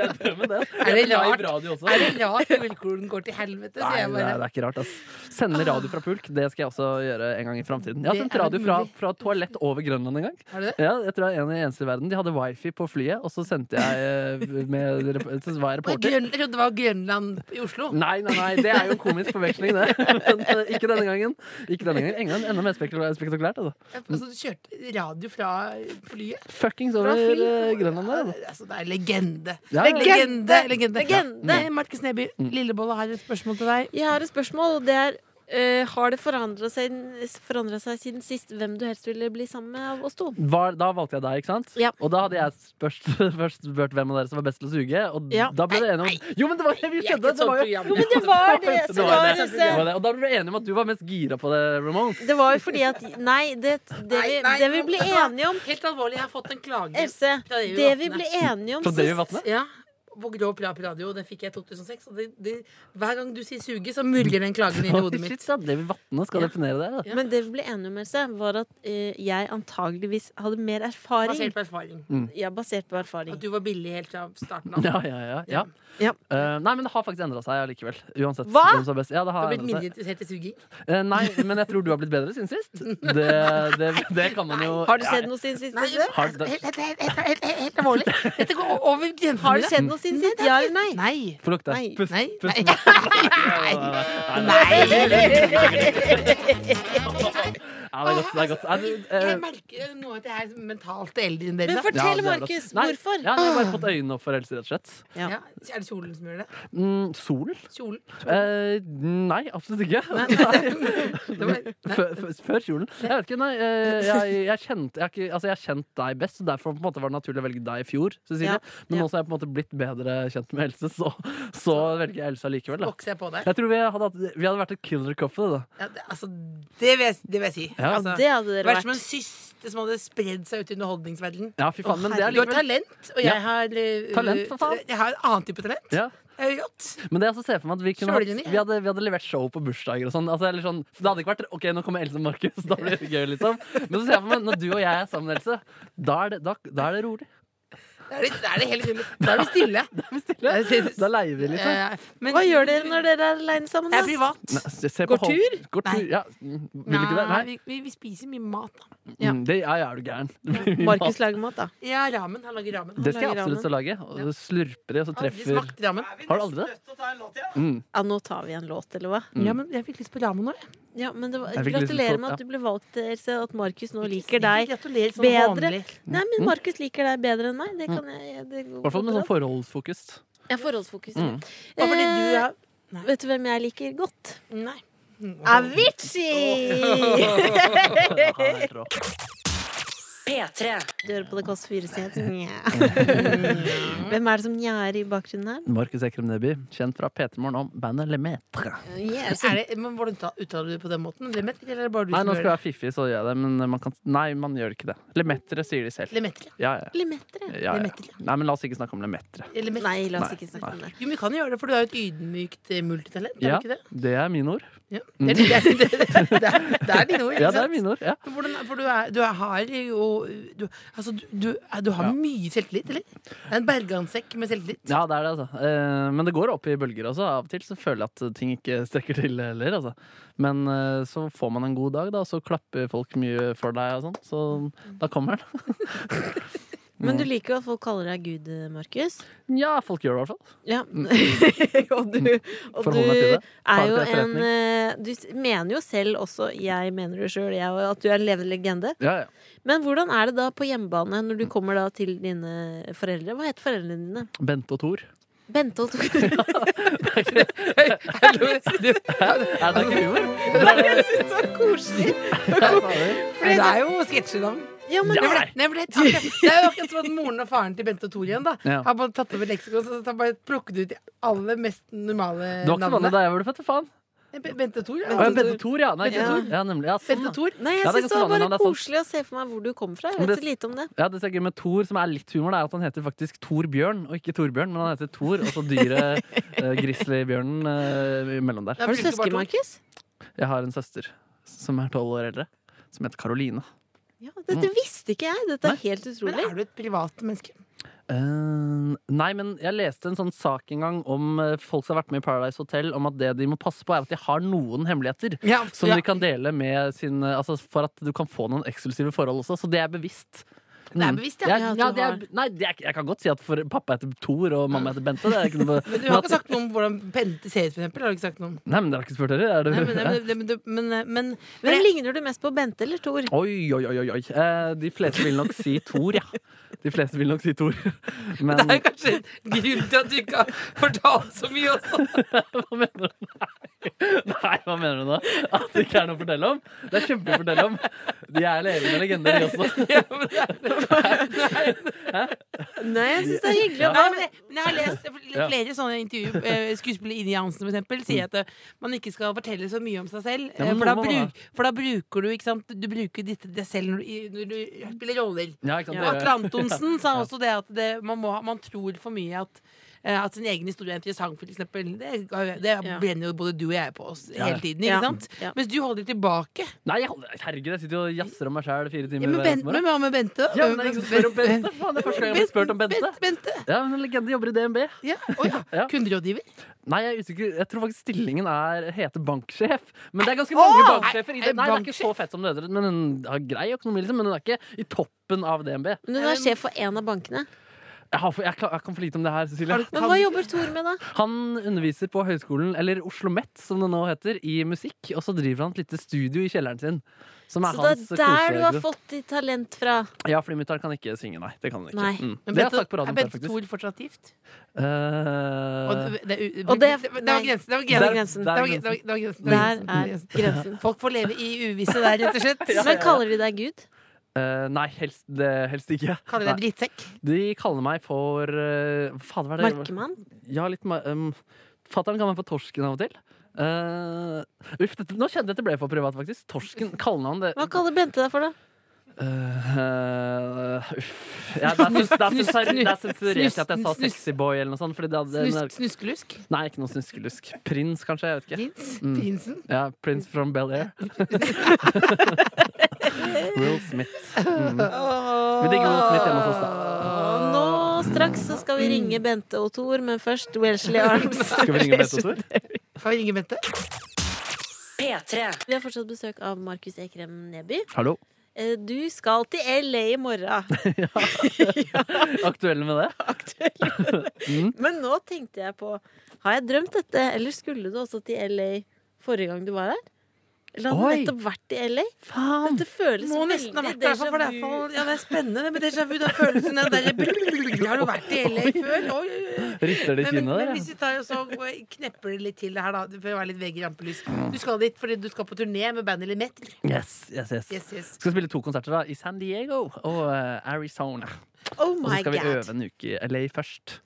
Speaker 7: er drømmen, det.
Speaker 4: Er det
Speaker 7: Live
Speaker 4: rart?
Speaker 7: radio også.
Speaker 4: Er det rart når vilkårene går til helvete? Så
Speaker 7: Nei,
Speaker 4: jeg
Speaker 7: det er, det
Speaker 4: bare, Ah.
Speaker 7: er ikke rart, ass. Sende radio fra pulk, det skal jeg også gjøre en gang i framtiden. Jeg har
Speaker 4: Det
Speaker 7: sendt
Speaker 4: er
Speaker 7: radio fra,
Speaker 4: mulig.
Speaker 7: fra toalett over Grønland en gang.
Speaker 4: er det det?
Speaker 7: Ja, jeg tror jeg er en av de eneste i verden. De hadde wifi på flyet, og så sendte jeg eh, med rep- Så var jeg
Speaker 4: Oi,
Speaker 7: reporter.
Speaker 4: Grøn, jeg trodde det var Grønland i Oslo.
Speaker 7: Nei, nei, nei, det er jo en komisk forveksling, det. Men eh, ikke denne gangen. Ikke denne gangen. England enda mer spekul- spektakulært. Altså.
Speaker 4: Altså, du kjørte radio fra flyet.
Speaker 7: Fuckings over
Speaker 3: fly.
Speaker 7: eh, Grønland der. Altså.
Speaker 4: Altså, det er legende.
Speaker 7: Ja, Mm. ja.
Speaker 4: Legende! legende.
Speaker 3: Legende.
Speaker 4: Nei, Markus Neby, Lillebolla har et spørsmål til deg.
Speaker 3: Jeg har et spørsmål, og det er eh, har det forandra seg, forandret seg siden sist hvem du helst ville bli sammen med av oss to?
Speaker 7: Var, da valgte jeg deg, ikke sant?
Speaker 3: Ja.
Speaker 7: Og da hadde jeg spørst, først spurt hvem av dere som var best til å suge. Og
Speaker 3: Ja.
Speaker 7: da ble det enige om Jo, men det var det vi
Speaker 4: Vi er ikke
Speaker 7: skjedde!
Speaker 4: sånn et
Speaker 7: Det
Speaker 4: sånt
Speaker 7: var jo
Speaker 4: program.
Speaker 3: Jo, men det var det!
Speaker 7: Det
Speaker 3: Så
Speaker 7: var
Speaker 3: var
Speaker 7: det.
Speaker 3: det
Speaker 7: Det var det. Og da ble vi enige om at du var mest gira på det, Ramones.
Speaker 3: Det var jo fordi at Nei, det, det, vi,
Speaker 4: Nei, nei,
Speaker 3: det vi
Speaker 4: nå-
Speaker 3: ble
Speaker 4: vet du hva?
Speaker 3: enige om
Speaker 4: Helt alvorlig, jeg har fått en klage.
Speaker 3: Else,
Speaker 4: Fra det vi
Speaker 3: det vi
Speaker 4: åpnet.
Speaker 3: ble enige om
Speaker 7: Fra Davy
Speaker 3: sist
Speaker 7: Vatne?
Speaker 4: Ja, på Grå Prat Radio. Den fikk jeg i 2006. Og det, det, hver gang du sier 'suge', så muldrer den klagen inn i hodet mitt.
Speaker 7: Shit, ja, Davy Vatne skal definere det. da.
Speaker 4: Ja.
Speaker 3: Men det vi ble enige om, Else, var at eh, jeg antageligvis hadde mer erfaring.
Speaker 4: Basert på erfaring.
Speaker 3: Ja, basert på erfaring.
Speaker 4: At du var billig helt fra starten av.
Speaker 7: Ja, ja, ja. ja.
Speaker 3: Ja.
Speaker 7: Eh, nei, men det har faktisk endra seg allikevel. Uansett.
Speaker 3: Hva?
Speaker 7: hvem som er best. Ja,
Speaker 4: Du
Speaker 7: det har
Speaker 4: har blitt
Speaker 7: endret
Speaker 4: mindre
Speaker 7: seg.
Speaker 4: interessert i suging.
Speaker 7: Eh, nei, men jeg tror du har blitt bedre siden sist. Det, det, det kan man jo
Speaker 3: Har du sett noe siden sist? Else?
Speaker 7: Har
Speaker 4: Helt
Speaker 7: du-
Speaker 4: helt- helt- helt- helt- helt alvorlig. Dette går o- over grensen.
Speaker 3: Har du sett noe siden sist? Ja eller nei?
Speaker 4: Nei.
Speaker 7: Få lukte.
Speaker 3: Nei.
Speaker 7: Pust.
Speaker 4: Nei.
Speaker 7: pust.
Speaker 4: Nei.
Speaker 7: Ja, det er godt. Det er godt. Er du, eh,
Speaker 4: Jeg merker nå at jeg er mentalt eldre enn dere.
Speaker 3: Men
Speaker 4: da.
Speaker 7: ja,
Speaker 3: fortell,
Speaker 7: det er godt.
Speaker 3: Markus,
Speaker 7: Nei,
Speaker 3: hvorfor?
Speaker 7: Ja, jeg har bare fått øynene opp for helse, rett og slett.
Speaker 3: Ja.
Speaker 4: Ja, er det kjolen som gjør det?
Speaker 7: Mm, sol?
Speaker 4: Kjolen?
Speaker 7: Eh, nei, absolutt ikke.
Speaker 4: Det var-
Speaker 7: Før, før- før kjolen? Jeg vet ikke, nei. eh, Jeg, jeg, kjente, jeg, har ikke- altså, jeg har kjent deg best, så derfor på en måte var det naturlig å velge deg i fjor. Cecilie.
Speaker 3: Ja,
Speaker 7: Men
Speaker 3: ja.
Speaker 7: nå som jeg på en måte blitt bedre kjent med Else, så, så velger jeg Else allikevel. da.
Speaker 4: Vokser jeg på deg?
Speaker 7: Jeg tror vi hadde, hatt- vi hadde vært et killer couple. Da.
Speaker 4: Ja, det, altså, det, vil jeg, det vil jeg si.
Speaker 7: Ja.
Speaker 4: altså,
Speaker 3: Det hadde
Speaker 4: det
Speaker 3: dere
Speaker 4: vært som en
Speaker 3: vært.
Speaker 4: syste som hadde spredd seg ut i underholdningsverdenen.
Speaker 7: Ja, fy faen, men det er
Speaker 4: Du har
Speaker 7: likevel
Speaker 4: talent, og
Speaker 7: Ja.
Speaker 4: jeg har eh,
Speaker 7: Talent, for faen.
Speaker 4: Jeg har en annen type talent.
Speaker 7: ja.
Speaker 4: Det er jo rått.
Speaker 7: Men det jeg også ser for meg at vi, kunne hatt,
Speaker 4: Sjølgeni, ja.
Speaker 7: vi, hadde, vi hadde levert show på bursdager og sånn. Altså, eller sånn for det hadde ikke vært OK, nå kommer Else og Markus. Da blir det gøy, liksom. Men så ser jeg for meg når du og jeg er sammen, Else, da er det, da, da er det rolig.
Speaker 4: Da er det, da er det helt stille. Da er det stille.
Speaker 7: Da er vi stille. Da leier vi liksom. sånn. litt.
Speaker 4: Eh, men-
Speaker 3: Hva gjør dere når dere er aleine sammen?
Speaker 4: Jeg
Speaker 3: da?
Speaker 4: er privat.
Speaker 7: Nei, se- se
Speaker 3: Går
Speaker 7: på Hol-
Speaker 3: tur?
Speaker 7: Går tur?
Speaker 4: Nei.
Speaker 7: Ja. Mm, Vil du ikke det? Nei.
Speaker 4: vi, vi, vi spiser mye mat. Da.
Speaker 3: ja.
Speaker 7: Mm, Det, ja, ja, er du gæren. Det blir mye
Speaker 3: Markus
Speaker 7: mat.
Speaker 3: lager mat, da.
Speaker 4: Ja, ramen. Han lager ramen.
Speaker 7: Det skal jeg
Speaker 3: lager
Speaker 7: absolutt lage. Og så slurper de, og så
Speaker 4: Aldri
Speaker 7: treffer Mm.
Speaker 4: smakt ramen.
Speaker 7: Har du aldri det?
Speaker 5: Nødt til å ta en låt igjen?
Speaker 7: Mm.
Speaker 3: Ja, nå tar vi en låt, eller hva?
Speaker 7: Mm.
Speaker 4: Ja, men jeg fikk lyst på ramen nå. jeg.
Speaker 3: Ja, men det var,
Speaker 7: Jeg fikk lyst til å-
Speaker 3: gratulerer med
Speaker 7: ja.
Speaker 3: at du ble valgt, Else, og at Markus nå liker deg.
Speaker 4: Gratulerer som
Speaker 3: Bedre.
Speaker 4: Sånn vanlig.
Speaker 3: Nei, men Markus liker deg bedre enn meg. Det kan jeg det
Speaker 7: I hvert fall med sånn forholdsfokus.
Speaker 3: Ja, forholdsfokus.
Speaker 7: Mm.
Speaker 4: Bare fordi du er
Speaker 3: Eh, vet du hvem jeg liker godt?
Speaker 4: Nei. Mm,
Speaker 3: Avicii!
Speaker 1: P3.
Speaker 3: Du hører på det Kåss Furuseth. Nja. Hvem er det som njer i bakgrunnen her?
Speaker 7: Markus Ekrem Neby, kjent fra P3 Morgen om bandet Lemaitre.
Speaker 4: Er det, men hvordan ta- uttaler du det på den måten? Lemetter, eller er det bare du
Speaker 7: Nei,
Speaker 4: som
Speaker 7: nå
Speaker 4: gjør
Speaker 7: skal jeg
Speaker 4: det?
Speaker 7: være fiffig, så gjør jeg det. Men man kan, nei, man gjør ikke det. Lemaitre sier de selv.
Speaker 4: Lemetter, ja.
Speaker 7: Ja, ja.
Speaker 3: Limetter,
Speaker 7: ja,
Speaker 3: ja.
Speaker 7: ja.
Speaker 4: Lemaitre.
Speaker 7: Nei, men la oss ikke snakke om Lemaitre.
Speaker 4: Lemetter.
Speaker 3: Nei, la oss
Speaker 7: Nei,
Speaker 3: ikke snakke om det.
Speaker 4: Jo, men vi kan jo gjøre det, for du er jo et ydmykt eh, multitalent. Er
Speaker 7: Ja,
Speaker 4: du ikke det?
Speaker 7: det er mine ord.
Speaker 4: Ja. Det, er- det, er- det, er- det, er- det er dine ord, ikke
Speaker 7: Ja, det er
Speaker 4: sant?
Speaker 7: mine ord. Ja.
Speaker 4: Men Hvordan, for du, er, du er, har jo du, altså, du, du, er- du har
Speaker 7: Ja.
Speaker 4: mye selvtillit, eller? Det er en bergansekk med selvtillit.
Speaker 7: Ja, det er det, altså. Eh, men det går opp i bølger også. Av og til så føler jeg at ting ikke strekker til heller, altså. Men eh, så får man en god dag, da, og så klapper folk mye for deg og sånn. Så da kommer den.
Speaker 3: Men du liker jo at folk kaller deg Gud, eh, Markus.
Speaker 7: Ja, folk gjør det i hvert fall.
Speaker 3: Ja. og du, og
Speaker 7: Mm. Forholder
Speaker 3: du
Speaker 7: meg til det.
Speaker 3: er
Speaker 7: det
Speaker 3: jo
Speaker 7: til
Speaker 3: en
Speaker 7: etterretning.
Speaker 3: eh, Du s- mener jo selv også, jeg mener det sjøl, jeg òg, at du er en levende legende.
Speaker 7: Ja, ja.
Speaker 3: Men hvordan er det da på hjemmebane når
Speaker 7: Mm.
Speaker 3: du kommer da til dine foreldre? Hva heter foreldrene dine?
Speaker 7: Bente og Thor.
Speaker 3: Bente og Tore.
Speaker 7: Nei, det er ikke humor.
Speaker 3: Jeg syns det var koselig.
Speaker 4: Men det er jo sketsjenavn.
Speaker 3: Ja, men
Speaker 4: Nei, for det- nei, for det, er akkurat- det er jo akkurat som at moren og faren til Bente og Tor igjen da,
Speaker 7: Ja.
Speaker 4: har bare tatt over leksikon. Så har bare plukket ut de aller mest normale
Speaker 7: Det var ikke så vanlig
Speaker 4: navnene.
Speaker 7: da jeg ble født, faen.
Speaker 4: Nei, B- Bente og Tor. ja.
Speaker 7: Å, ja, Bente Thor, ja. Nei,
Speaker 4: Bente
Speaker 7: ja.
Speaker 4: Thor.
Speaker 7: ja nemlig. Ja, sånn,
Speaker 4: Bente
Speaker 7: ja.
Speaker 4: Thor.
Speaker 3: Nei,
Speaker 7: Ja,
Speaker 3: jeg syns
Speaker 7: det er
Speaker 3: det
Speaker 7: ganske
Speaker 3: var
Speaker 7: vanlig,
Speaker 3: bare
Speaker 7: det er sant.
Speaker 3: koselig å se for meg hvor du kommer fra. Jeg
Speaker 7: Men
Speaker 3: vet
Speaker 7: det-
Speaker 3: så lite om det.
Speaker 7: ja, det som er gøy med Thor, som er litt humor, det er at han heter faktisk Thor Bjørn, og ikke Torbjørn, men han heter Thor, og så dyret uh, grizzlybjørnen eh, imellom der.
Speaker 4: Ja,
Speaker 3: Har du
Speaker 4: brukte bare
Speaker 3: søsken,
Speaker 4: to.
Speaker 3: Markus?
Speaker 7: Jeg har en søster som er tolv år eldre, som heter Karoline.
Speaker 3: Ja, dette visste ikke jeg. Dette er helt
Speaker 4: Men
Speaker 3: utrolig.
Speaker 4: er du et privat menneske?
Speaker 7: Eh, nei, men jeg leste en sånn sak en gang om eh, folk som har vært med i Paradise Hotel, om at det de må passe på, er at de har noen hemmeligheter.
Speaker 4: Ja,
Speaker 7: Som
Speaker 4: ja.
Speaker 7: de kan dele med sin eh, Altså for at du kan få noen eksklusive forhold også. Så det er bevisst.
Speaker 4: Det er
Speaker 7: Mm.
Speaker 4: bevisst,
Speaker 7: ja.
Speaker 4: ja.
Speaker 3: Ja,
Speaker 7: ja,
Speaker 3: at du
Speaker 7: det er,
Speaker 3: har-
Speaker 7: nei, det er, ikke- jeg kan godt si at for pappa heter Thor og mamma heter Bente. Det er ikke noe,
Speaker 4: Men du har ikke sagt noe om hvordan Bente ser ut, for eksempel? Har du ikke sagt noe om?
Speaker 7: Nei, men dere har ikke spurt dere? Er det,
Speaker 4: Nei, men, men, men, men, men, men,
Speaker 3: Hvem ligner du mest på, Bente eller Tor?
Speaker 7: Oi, oi, oi, oi. oi. Eh, de fleste vil nok si Thor, ja. De fleste vil nok si Thor. Men
Speaker 4: det er kanskje en grunn til at du ikke har fortalt så mye også.
Speaker 7: hva mener du? Nei. Nei, hva mener du nå? At det ikke er noe å fortelle om? Det er kjempemye å fortelle om. De er levende legender, de også.
Speaker 4: Ja, men det er-
Speaker 3: Nei, jeg syns det er hyggelig. å
Speaker 4: Nei,
Speaker 3: være
Speaker 4: men, men jeg har lest
Speaker 7: Ja.
Speaker 4: flere sånne intervju eh, Skuespiller Ine Jansen for eksempel sier at eh, man ikke skal fortelle så mye om seg selv.
Speaker 7: Ja,
Speaker 4: eh,
Speaker 7: men
Speaker 4: for, da
Speaker 7: noe må man
Speaker 4: bruk, for da bruker du ikke sant, Du bruker ditt, deg selv når du, i- når du spiller roller.
Speaker 7: Ja, ikke sant?
Speaker 4: Og Atle
Speaker 7: Dere-
Speaker 4: Antonsen sa også det at det, man, må, ha- man tror for mye at eh, at sin egen historie er interessant, for eksempel. Det, det
Speaker 3: Ja.
Speaker 4: brenner jo både du og jeg på oss
Speaker 7: Ja, ja.
Speaker 4: hele tiden. ikke
Speaker 3: Ja.
Speaker 4: sant?
Speaker 3: Ja.
Speaker 4: Mens du holder tilbake.
Speaker 7: Nei, jeg holder- herregud, jeg sitter jo og jazzer om meg sjæl fire timer
Speaker 4: Ja, men
Speaker 7: hver
Speaker 4: ben,
Speaker 7: eneste morgen.
Speaker 4: men hva med Bente?
Speaker 7: Ja, men det er ingen som spør om Bente. Faen, det er første gang jeg blir spurt om Bente.
Speaker 4: Bente, Bente.
Speaker 7: Ja, men en legende jobber i DNB.
Speaker 4: Ja. Å ja.
Speaker 7: Ja.
Speaker 4: Kunderådgiver.
Speaker 7: Nei, jeg er usikker. Jeg tror faktisk stillingen er, heter banksjef. Men det er ganske mange
Speaker 4: Åh!
Speaker 7: banksjefer. I
Speaker 4: Er-
Speaker 7: det.
Speaker 4: er
Speaker 7: Nei, det er ikke så fett som det høres ut, men hun har grei økonomi, liksom. Men hun er ikke i toppen av DNB.
Speaker 3: Men hun er sjef for én av bankene.
Speaker 7: Jeg, har, for- jeg, kla- jeg kan for lite om det her, Cecilie.
Speaker 4: Har du-
Speaker 3: Men hva jobber Tor med, da?
Speaker 7: Han underviser på høyskolen, eller Oslo Met, som det nå heter, i musikk. Og så driver han et lite studio i kjelleren sin. Som er
Speaker 3: Så det
Speaker 7: hans
Speaker 3: er der du har
Speaker 7: kosestudio.
Speaker 3: fått ditt talent fra.
Speaker 7: Ja, fordi Mutter'n kan ikke synge, nei. Det kan hun ikke.
Speaker 3: Nei.
Speaker 7: Mm.
Speaker 4: Men
Speaker 7: Det har
Speaker 4: Bente-
Speaker 7: jeg sagt på
Speaker 4: er
Speaker 7: radioen før,
Speaker 4: Bente
Speaker 7: faktisk.
Speaker 4: Thor fortsatt gift?
Speaker 7: Eh,
Speaker 4: Og det, det, det,
Speaker 3: Og det-
Speaker 4: det var grensen. Det var
Speaker 3: Der-
Speaker 4: grensen.
Speaker 3: grensen.
Speaker 4: Det var grensen. Det var grensen. Det var
Speaker 3: Der
Speaker 4: grensen.
Speaker 3: er grensen.
Speaker 4: Folk får leve i uvisse der, rett og slett.
Speaker 3: Men kaller de deg Gud?
Speaker 7: eh, nei, helst, det, helst ikke.
Speaker 4: Kaller deg drittsekk.
Speaker 7: De kaller meg for eh, hva Fader, hva er det?
Speaker 3: Markemann?
Speaker 7: Ja, litt mer um, Fatteren kaller meg for Torsken av og til. Eh, uff, dette, nå kjente jeg at det ble for privat, faktisk. Torsken, kallenavn, det
Speaker 3: Hva kaller Bente deg for, da?
Speaker 7: Eh, Uff. Ja, der sens- der sens- der sensurerte jeg at jeg sa
Speaker 4: Snus- snus-
Speaker 7: sexyboy eller noe sånt. Fordi det hadde,
Speaker 4: Snus, snuskelusk.
Speaker 7: nei, ikke noe snuskelusk. Prins, kanskje? Jeg vet ikke.
Speaker 4: Prins. Prinsen.
Speaker 7: Ja, Prince from Bel-Air. Will Smith. Mm. Vi digger Will Smith hjemme hos oss, da.
Speaker 3: Og nå straks så skal vi
Speaker 7: Mm.
Speaker 3: ringe Bente og Tor, men først Welsley Arms.
Speaker 7: Skal vi ringe Bente Thor?
Speaker 4: Kan vi ringe Bente?
Speaker 1: P3.
Speaker 3: Vi har fortsatt besøk av Markus Ekrem Neby.
Speaker 7: Hallo.
Speaker 3: Eh, Du skal til LA i morgen.
Speaker 7: Aktuelle med det?
Speaker 3: Men nå tenkte jeg på Har jeg drømt dette, eller skulle du også til LA forrige gang du var her? Eller han har
Speaker 7: Oi.
Speaker 3: nettopp vært i LA.
Speaker 7: Faen!
Speaker 3: Dette føles
Speaker 4: Må nesten ha
Speaker 3: veldig
Speaker 4: vært der, for det er,
Speaker 3: déjà vu.
Speaker 4: for, ja, det er spennende det med déjà vu. Det er følelsen av den derre Har du vært i LA før? Oi, oi, oi.
Speaker 7: Rister
Speaker 4: Men,
Speaker 7: det i
Speaker 4: men,
Speaker 7: kinnet der?
Speaker 4: men
Speaker 7: ja?
Speaker 4: hvis vi tar og så knepper det litt til det her, da, for å være litt vegg i rampelys Du skal dit fordi du skal på turné med bandet Limet.
Speaker 7: Yes, yes, yes.
Speaker 4: Yes, yes.
Speaker 7: Skal spille to konserter da, i San Diego og eh, Arizona.
Speaker 3: Oh
Speaker 7: Og så
Speaker 3: my
Speaker 7: skal vi øve
Speaker 3: god.
Speaker 7: en uke i LA først.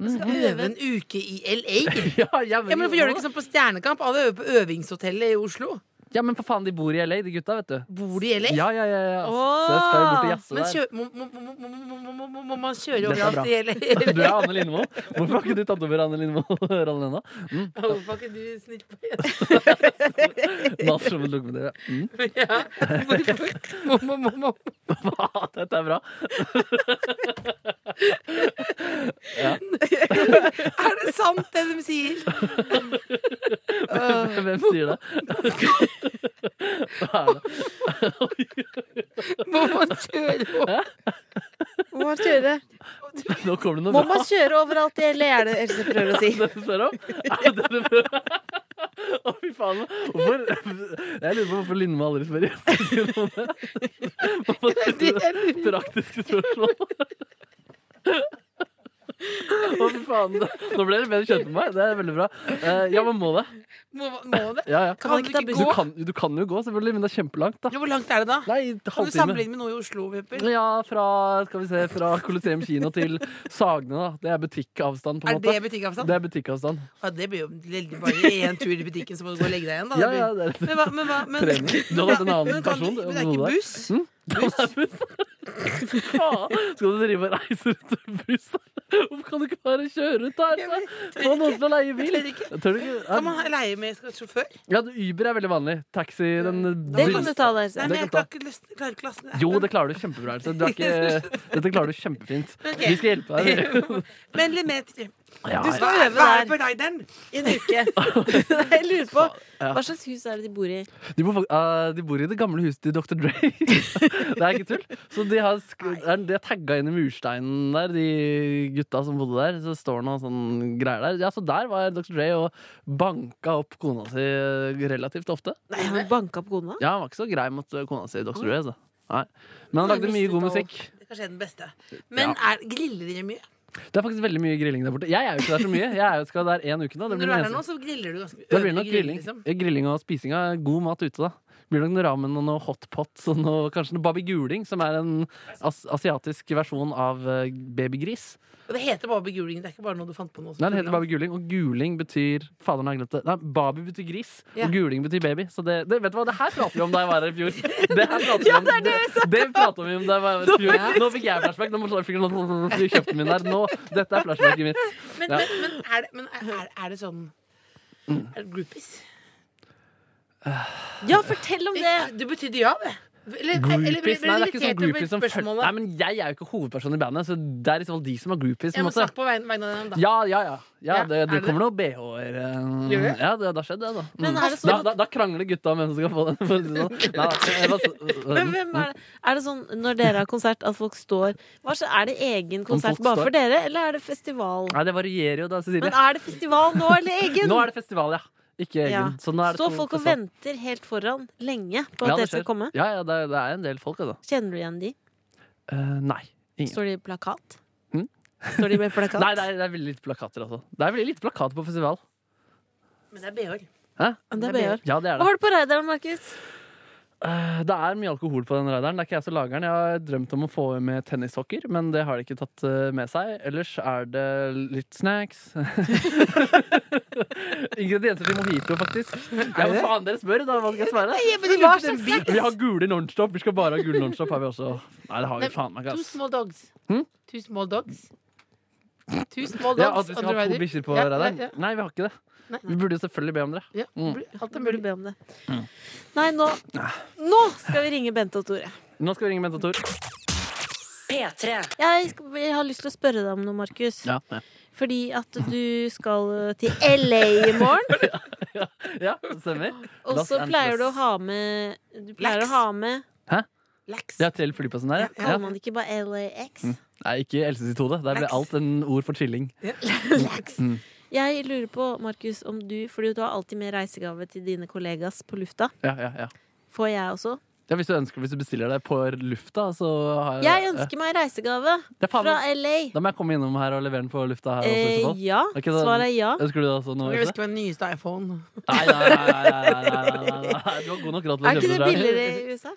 Speaker 4: Øve en uke i LA.
Speaker 7: Ja,
Speaker 4: Ja, men Hvorfor gjør du ikke sånn på Stjernekamp? Alle øver på øvingshotellet i Oslo.
Speaker 7: Ja, men for faen, de bor i LA, de gutta, vet du.
Speaker 4: Bor de i LA?
Speaker 7: Ja, ja, ja, ja.
Speaker 3: Åh!
Speaker 7: Så jeg skal jo bort
Speaker 4: Men
Speaker 7: og jazze der.
Speaker 4: kjø må, må, må, må, må, må, må, må man kjøre
Speaker 7: Dette er bra.
Speaker 4: overalt i LA?
Speaker 7: Bra, Anne Lindmo. Hvorfor har ikke du tatt over Anne Lindmo? rollen ennå? Mm.
Speaker 4: Hvorfor er ikke du snill på det?
Speaker 7: Mas som en lokomotiv, ja. Mm.
Speaker 4: Ja. Hvorfor- Må, må, må, må.
Speaker 7: Hva? Dette er bra.
Speaker 4: Er det sant, det de sier? Øh.
Speaker 7: Hvem sier det? Hva er det?
Speaker 4: Må man kjøre over?
Speaker 3: Må man kjøre,
Speaker 7: Nå kommer det noe
Speaker 3: må
Speaker 7: bra.
Speaker 3: man kjøre overalt i LA, er det Else prøver å si.
Speaker 7: det du spør om? Er det det du prøver? Å, fy faen. Hvorfor? Jeg lurer på hvorfor Lindmo aldri spør gjestene om det. Hvorfor
Speaker 4: Det
Speaker 7: stiller
Speaker 4: er lurt.
Speaker 7: du praktiske spørsmål? Å, fy faen. Nå ble dere bedre kjent med meg. Det er veldig bra. Eh, Ja, man må det.
Speaker 4: Må, må det?
Speaker 7: Ja, ja.
Speaker 4: Kan man ikke ta
Speaker 7: Du
Speaker 4: bussen?
Speaker 7: kan, du kan jo gå, selvfølgelig, men det er kjempelangt, da.
Speaker 4: Jo, Hvor langt er det da?
Speaker 7: Nei,
Speaker 4: Kan du
Speaker 7: halvtime.
Speaker 4: sammenligne med noe i Oslo? Vepper?
Speaker 7: Ja, fra, skal vi se, fra Colosseum kino til Sagene, da. Det er butikkavstand, på en
Speaker 4: Er
Speaker 7: måte.
Speaker 4: det butikkavstand?
Speaker 7: Det er butikkavstand.
Speaker 4: Ja, det blir jo veldig bare én tur i butikken, så må du gå og legge deg igjen. da
Speaker 7: Ja,
Speaker 4: Det
Speaker 7: ja,
Speaker 4: blir-
Speaker 7: det
Speaker 4: Men
Speaker 7: er
Speaker 4: hva, men hva men,
Speaker 7: Trening. Du hadde hatt en annen
Speaker 4: men kan
Speaker 7: person,
Speaker 4: du-
Speaker 7: det-
Speaker 4: Men det er
Speaker 7: noe
Speaker 4: ikke
Speaker 7: der.
Speaker 4: buss?
Speaker 7: Mm? Buss. Faen, skal du drive og reise rundt med buss? Hvorfor kan du ikke bare kjøre ut der?
Speaker 4: Jeg
Speaker 7: Få noen til å leie bil.
Speaker 4: Jeg tør ikke.
Speaker 7: Tør du ikke?
Speaker 4: Kan man leie med sjåfør?
Speaker 7: Ja, Uber er veldig vanlig. Taxi, den
Speaker 3: Det kan du ta, da, Else.
Speaker 4: Nei, men jeg
Speaker 7: kan
Speaker 4: klarer ikke lyst- klarer ikke lasten.
Speaker 7: Jo, det klarer du kjempebra. Else. Du er ikke... Dette klarer du kjempefint. Vi skal hjelpe deg.
Speaker 4: Men Lemetri,
Speaker 7: Ja,
Speaker 4: du skal
Speaker 3: ja.
Speaker 4: øve deg
Speaker 3: Vær-
Speaker 4: på rideren.
Speaker 3: I en uke. Jeg lurer på hva slags hus er det de bor i?
Speaker 7: De bor, fak- eh, de bor i det gamle huset til Dr. Dre. det er ikke tull. Så de har, sk- er- de har tagga inn i mursteinen der, de gutta som bodde der. Så står det noen sånne greier der. Ja, så der var Dr. Dre og banka opp kona si eh, relativt ofte.
Speaker 3: Nei, han banka på kona?
Speaker 7: Ja, han var ikke så grei mot eh, kona si, Dr. Dre. Så. Nei. Men han lagde mye god musikk.
Speaker 4: Det er kanskje den beste. Men er, griller dere mye?
Speaker 7: Det er faktisk veldig mye grilling der borte. Jeg er jo ikke der så mye. Jeg er jo skal være der én uke nå. Det
Speaker 4: Når
Speaker 7: blir,
Speaker 4: du er
Speaker 7: den
Speaker 4: der nå,
Speaker 7: eneste-
Speaker 4: så griller du ganske
Speaker 7: det blir nok
Speaker 4: øvrig
Speaker 7: grilling.
Speaker 4: liksom.
Speaker 7: grilling og spising av god mat ute, da. Blir det nok noe ramen og noe hotpot og noe, kanskje noe babyguling, som er en as asiatisk versjon av eh, babygris.
Speaker 4: Og det heter bare beguling, det er ikke bare noe du fant på nå. som
Speaker 7: Nei, det heter
Speaker 4: program.
Speaker 7: babyguling, og guling betyr Faderen har glemt det. Nei, baby betyr gris,
Speaker 4: Ja.
Speaker 7: og guling betyr baby. Så det, det, vet du hva, det her prater vi om da jeg var her i fjor. Det her prater vi om, det, det, prater vi om da jeg var her i fjor. Nå fikk jeg flashback. Nå må jeg flikke noe i kjeften min her. Nå, dette er flashbacket mitt.
Speaker 4: Men,
Speaker 7: Ja. Mm.
Speaker 4: men, men, er, det, men er, er- er det sånn Er det groupies?
Speaker 3: Ja, fortell om det!
Speaker 4: Det betydde ja, det. Eller, eller ble
Speaker 7: Groupies? Nei,
Speaker 4: du
Speaker 7: det er ikke sånn
Speaker 4: irritert over
Speaker 7: groupies som følger
Speaker 4: spørsmålet?
Speaker 7: Nei, men jeg er jo ikke hovedpersonen i bandet, så det er i så fall de som er groupies. på
Speaker 4: Jeg
Speaker 7: en
Speaker 4: må
Speaker 7: måte.
Speaker 4: snakke på vegne, vegne av dem, da.
Speaker 7: Ja, ja, ja. ja
Speaker 4: Ja,
Speaker 7: det,
Speaker 4: er
Speaker 7: det
Speaker 4: det
Speaker 7: kommer noen BH-er. eh,
Speaker 4: Gjør det?
Speaker 7: Ja, det, det har skjedd, det, da.
Speaker 3: Men
Speaker 7: Mm.
Speaker 3: er det sånn-
Speaker 7: da, da. Da krangler gutta om hvem som skal få den. For å si det sånn. Nei, da, jeg bare-
Speaker 3: Men hvem er det? Er det sånn når dere har konsert at folk står hva så, Er det egen konsert
Speaker 7: folk
Speaker 3: bare
Speaker 7: står-
Speaker 3: for dere, eller er det festival?
Speaker 7: Nei, det varierer jo, da, Cecilie.
Speaker 3: Men er det festival nå, eller egen?
Speaker 7: Nå er det festival, ja. Ikke egen.
Speaker 3: Ja.
Speaker 7: Så nå er det
Speaker 3: Står
Speaker 7: to
Speaker 3: folk og
Speaker 7: festival.
Speaker 3: venter helt foran lenge på
Speaker 7: Ja,
Speaker 3: at
Speaker 7: det
Speaker 3: dere skal
Speaker 7: skjer.
Speaker 3: komme?
Speaker 7: Ja, ja, det, er- det er en del folk, altså.
Speaker 3: Kjenner du igjen de?
Speaker 7: Eh, nei. Ingen.
Speaker 3: Står de i plakat?
Speaker 7: Hm?
Speaker 3: Står de med plakat?
Speaker 7: Nei, det er, det er veldig lite plakater, altså. Det er veldig lite plakater på festival.
Speaker 4: Men det er BH-er.
Speaker 3: Men det er BH.
Speaker 7: Ja, det er det.
Speaker 3: Hva har du på radaren, Markus?
Speaker 7: Eh, Det er mye alkohol på den radaren. Det er ikke jeg som lager den. Jeg har drømt om å få med tennissokker, men det har de ikke tatt eh, med seg. Ellers er det litt snacks. Ingredienser til mojito, faktisk. Ja, hva faen dere spør? da, Hva skal jeg svare?
Speaker 3: Hva slags
Speaker 7: Vi har gule nonstop. Vi skal bare ha gule nonstop, har vi også. Nei, det har vi
Speaker 4: Nei,
Speaker 7: faen meg ikke.
Speaker 4: Two
Speaker 7: ass.
Speaker 4: small dogs.
Speaker 7: Hm?
Speaker 4: Two small dogs. Two small dogs.
Speaker 7: Ja, at vi skal ha
Speaker 4: Andre
Speaker 7: to
Speaker 4: veier.
Speaker 7: bikkjer på
Speaker 4: Ja,
Speaker 7: radaren?
Speaker 4: ja,
Speaker 7: Nei, vi har ikke det.
Speaker 4: Nei.
Speaker 7: Vi burde jo selvfølgelig be om dere.
Speaker 4: Ja,
Speaker 7: Mm.
Speaker 4: blir alt er
Speaker 3: Jeg burde
Speaker 4: mulig.
Speaker 3: be om det.
Speaker 7: Hmm.
Speaker 3: Nei, nå, nå skal vi ringe Bente og Tore.
Speaker 7: Nå skal vi ringe Mentator.
Speaker 1: P3.
Speaker 3: Jeg, sk- jeg har lyst til å spørre deg om noe, Markus.
Speaker 7: Ja, ja.
Speaker 3: Fordi at du skal til LA i morgen.
Speaker 7: ja, det stemmer.
Speaker 3: Og
Speaker 7: Los
Speaker 3: så pleier du å
Speaker 7: Angeles.
Speaker 3: ha med Du pleier
Speaker 4: Lax.
Speaker 3: å ha med
Speaker 4: Lax.
Speaker 7: Ja, til flyplassen der, ja.
Speaker 3: Kaller man det ikke bare LAX?
Speaker 7: Nei, ikke Else sitt hode. Der ble
Speaker 4: Lex.
Speaker 7: alt en ord for trilling.
Speaker 4: Ja. Lax.
Speaker 7: Mm.
Speaker 3: Jeg lurer på, Markus, om du Fordi du har alltid med reisegave til dine kollegas på lufta.
Speaker 7: Ja, ja, ja.
Speaker 3: Får jeg også?
Speaker 7: Ja, hvis, du ønsker, hvis du bestiller deg på lufta, så har
Speaker 3: Jeg ønsker meg reisegave
Speaker 7: det er Eh, faen,
Speaker 3: fra LA.
Speaker 7: Da må jeg komme innom her og levere den på lufta her også,
Speaker 3: Eh,
Speaker 7: etterpå.
Speaker 3: ja.
Speaker 7: Ok, da-
Speaker 3: Svaret er ja.
Speaker 7: Ønsker du det også nå?
Speaker 4: Jeg
Speaker 7: Ikke
Speaker 4: husker den nyeste iPhone.
Speaker 7: det? Nei, nei, nei, nei, nei, nei, nei, nei, nei. Du har god nok råd til å
Speaker 3: Er ikke det
Speaker 7: kjøpe deg.
Speaker 3: billigere i USA?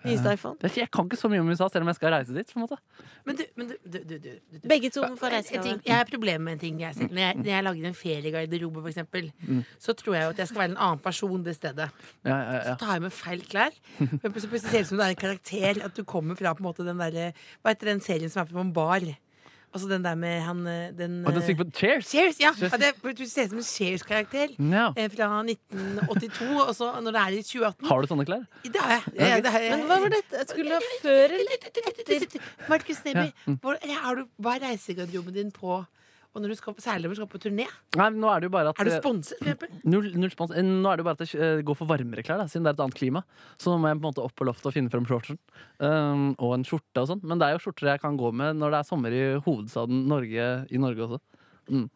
Speaker 3: Nyeste iPhone.
Speaker 7: Det er ikke- Jeg kan ikke så mye om USA, selv om jeg skal reise dit. på en måte
Speaker 4: Men du, men du, du, du, du, du, du.
Speaker 3: Begge to må få
Speaker 4: Jeg,
Speaker 3: reisegave.
Speaker 4: tenker- jeg har problemer med en ting. Jeg ser. Når, jeg, når jeg lager en feriegarderobe, for eksempel, så tror jeg jo at jeg skal være en annen person det stedet.
Speaker 7: Ja, ja, ja.
Speaker 4: Så tar jeg med feil klær. Men så plutselig ser det ut som du er en karakter. At du kommer fra på en måte den derre Hva heter den serien som er på en bar? Altså den der med han eh, den,
Speaker 7: Og du
Speaker 4: eh,
Speaker 7: stikker på Cheers!
Speaker 4: Cheers! Ja! At jeg plutselig ser ut som en Cheers-karakter.
Speaker 7: Ja.
Speaker 4: eh, Fra 1982, og så når det er i 2018
Speaker 7: Har du sånne klær?
Speaker 4: Det har jeg. Ja, det har jeg.
Speaker 3: Men hva var dette? Jeg skulle ha før eller etter?
Speaker 4: Markus Neby, hvor, eller har du, hva er reisegarderoben din på Og når du skal, på- særlig når du skal på turné?
Speaker 7: Nei, men nå er det jo bare at
Speaker 4: Er du
Speaker 7: eh,
Speaker 4: sponset, for eksempel?
Speaker 7: Null, null spons. Eh, Nå er det jo bare at jeg eh, går for varmere klær, da, siden det er et annet klima. Så nå må jeg på en måte opp på loftet og finne frem shortsen. Um, og en skjorte og sånn. Men det er jo skjorter jeg kan gå med når det er sommer i hovedstaden Norge, i Norge også.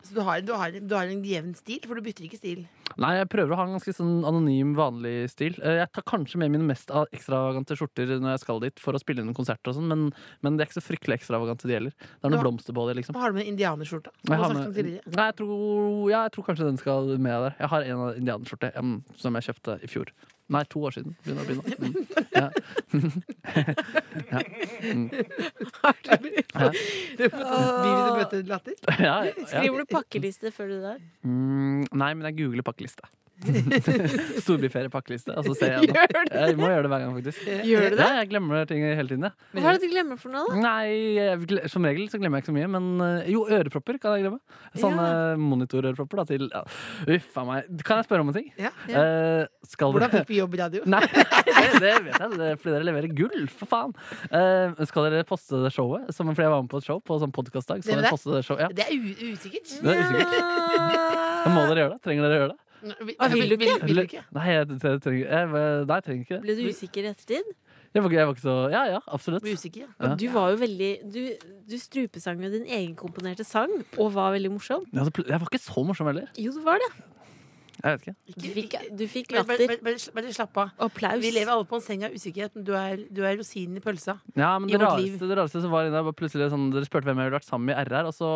Speaker 4: Så du har, du, har, du har en jevn stil, for du bytter ikke stil.
Speaker 7: Nei, jeg prøver å ha en ganske sånn anonym, vanlig stil. Eh, Jeg tar kanskje med mine mest a- ekstravagante skjorter når jeg skal dit for å spille inn konserter og sånn, men, men det er ikke så fryktelig ekstravagante de heller. Det er noen
Speaker 4: Ja.
Speaker 7: blomsterbåler, liksom.
Speaker 4: Hva har du med indianerskjorta? som du
Speaker 7: Jeg har
Speaker 4: har snakket om
Speaker 7: med,
Speaker 4: tidligere?
Speaker 7: nei, jeg tror, ja, jeg tror kanskje den skal med der. Jeg har en av indianerskjorte mm, som jeg kjøpte i fjor. Nei, to år siden. Begynner å bli nå. Mm. Ja.
Speaker 4: Du får sånn Vivi til bøttelatter.
Speaker 7: Ja, ja, ja.
Speaker 3: Skriver du pakkeliste før du drar?
Speaker 7: Mm, nei, men jeg googler pakkeliste. Storbyferiepakkeliste. Og så ser jeg det. Jeg må gjøre det hver gang, faktisk.
Speaker 3: Gjør du det?
Speaker 7: Ja, jeg glemmer ting hele tiden. jeg.
Speaker 3: Hva er det du glemmer for noe, da?
Speaker 7: Nei, jeg, gle- Som regel så glemmer jeg ikke så mye, men eh, jo, ørepropper kan jeg glemme. Sånne monitorørepropper da, til ja. Uff a meg. Kan jeg spørre om en ting?
Speaker 4: Ja.
Speaker 7: Eh, skal
Speaker 4: Hvordan
Speaker 7: dere-
Speaker 4: fikk vi jobb i radio?
Speaker 7: Nei, det, det vet jeg, det er fordi dere leverer gull, for faen. Eh, skal dere poste det showet? Som, fordi jeg var med på et show på sånn podkastdag. Så
Speaker 4: Dere
Speaker 7: dere
Speaker 4: det?
Speaker 7: poste det show, ja.
Speaker 4: Det er u usikkert.
Speaker 7: Det er usikkert.
Speaker 3: Ja.
Speaker 7: Må dere gjøre det? Trenger dere å gjøre det?
Speaker 4: Vil,
Speaker 3: Ah, vil du ikke?
Speaker 4: Vil, du ikke?
Speaker 7: Nei, jeg, jeg, trenger, jeg, nei, jeg trenger ikke det.
Speaker 3: Ble du usikker i ettertid?
Speaker 7: Jeg var, ikke- jeg var ikke så Ja, ja, absolutt.
Speaker 4: Du er usikker, ja.
Speaker 7: Ja.
Speaker 3: Du var jo veldig Du, du strupesang jo din egenkomponerte sang, og var veldig morsom.
Speaker 7: Ja, så pl- Jeg var ikke så morsom heller.
Speaker 3: Jo, du var det.
Speaker 7: Jeg vet ikke.
Speaker 3: Du fikk, du fikk
Speaker 4: Bare- bare-
Speaker 3: latter
Speaker 4: bare- Bare bare slapp av.
Speaker 3: og applaus.
Speaker 4: Vi lever alle på en seng av usikkerhet. men Du er, du er rosinen i pølsa.
Speaker 7: Ja, men
Speaker 4: I
Speaker 7: det
Speaker 4: vårt liv.
Speaker 7: rareste, det rareste som var inne, var plutselig sånn Dere spurte hvem jeg ville vært sammen med i RR, og så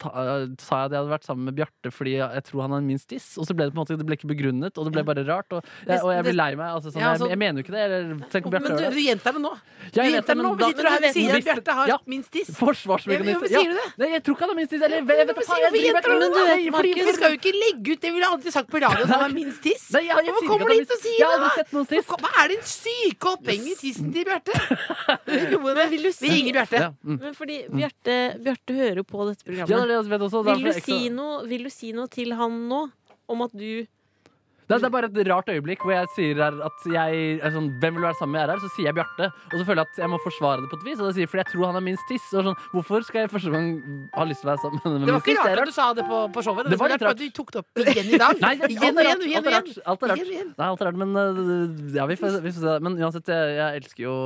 Speaker 7: ta, eh, sa jeg at jeg hadde vært sammen med Bjarte fordi jeg, jeg tror han har minst tiss. Og så ble det på en måte Det ble ikke begrunnet, og det ble bare rart. Og jeg, og jeg ble lei meg. Altså, sånn,
Speaker 4: Ja, altså-
Speaker 7: jeg, jeg mener jo ikke det. Eller, tenk om
Speaker 4: Men
Speaker 7: Bjarte
Speaker 4: du,
Speaker 7: hører det.
Speaker 4: du gjentar det nå. Du
Speaker 7: Jeg vet det,
Speaker 4: gjentar det nå.
Speaker 7: men
Speaker 4: Vi
Speaker 7: da-
Speaker 4: sitter her og sier at
Speaker 7: Hvis-
Speaker 4: Bjarte har
Speaker 7: ja.
Speaker 4: minst tiss. Ja, men
Speaker 7: Forsvarsmekanisme.
Speaker 4: hvorfor sier du det?
Speaker 7: Nei, jeg tror ikke han har minst tiss. Eller jeg vet
Speaker 4: Hvorfor
Speaker 7: da
Speaker 4: sier-
Speaker 7: faen,
Speaker 4: hvorfor
Speaker 7: jeg driver
Speaker 4: gjentar du det
Speaker 7: med-
Speaker 4: nå?
Speaker 7: Nei, fordi-
Speaker 4: Markus skal jo ikke legge ut det. Vi ville aldri sagt på radio at han har minst tiss.
Speaker 7: Nei, jeg- jeg sier
Speaker 4: Hvorfor
Speaker 7: ikke
Speaker 4: kommer
Speaker 7: at
Speaker 4: du
Speaker 7: han
Speaker 4: hit og
Speaker 7: minst-
Speaker 4: sier
Speaker 7: Jeg har
Speaker 4: det?
Speaker 7: aldri sett noen tiss.
Speaker 4: Hva er den syke opphengige tissen til Bjarte?
Speaker 3: Men vil du si,
Speaker 4: Vi ringer Bjarte.
Speaker 7: Ja, mm.
Speaker 3: men fordi Bjarte, Bjarte hører jo på dette
Speaker 7: ja, det er
Speaker 3: programmet.
Speaker 7: det jeg vet også. Det er,
Speaker 3: Vil du
Speaker 7: derfor jeg
Speaker 3: si
Speaker 7: ikke-
Speaker 3: noe, vil du si noe til han nå om at du
Speaker 7: Nei, det er bare et rart øyeblikk hvor jeg sier her at jeg er sånn, Hvem vil du være sammen med RR? Så sier jeg Bjarte. Og så føler jeg at jeg må forsvare det på et vis. Og da sier jeg, fordi jeg tror han har minst tiss. Og sånn, hvorfor skal jeg første gang ha lyst til å være sammen med henne med
Speaker 4: Det var
Speaker 7: minst
Speaker 4: ikke
Speaker 7: tiss?
Speaker 4: rart at du sa det på, på showet.
Speaker 7: Det var
Speaker 4: så rart
Speaker 7: litt rart.
Speaker 4: at du tok det opp igjen i dag.
Speaker 7: Nei, det-
Speaker 4: igjen
Speaker 7: alt
Speaker 4: og
Speaker 7: er rart,
Speaker 4: igjen og igjen.
Speaker 7: alt er rart, alt er rart.
Speaker 4: Igjen og igjen.
Speaker 7: Nei, alt er rart, men øh, ja, vi får, vi får se. Men uansett, jeg, jeg elsker jo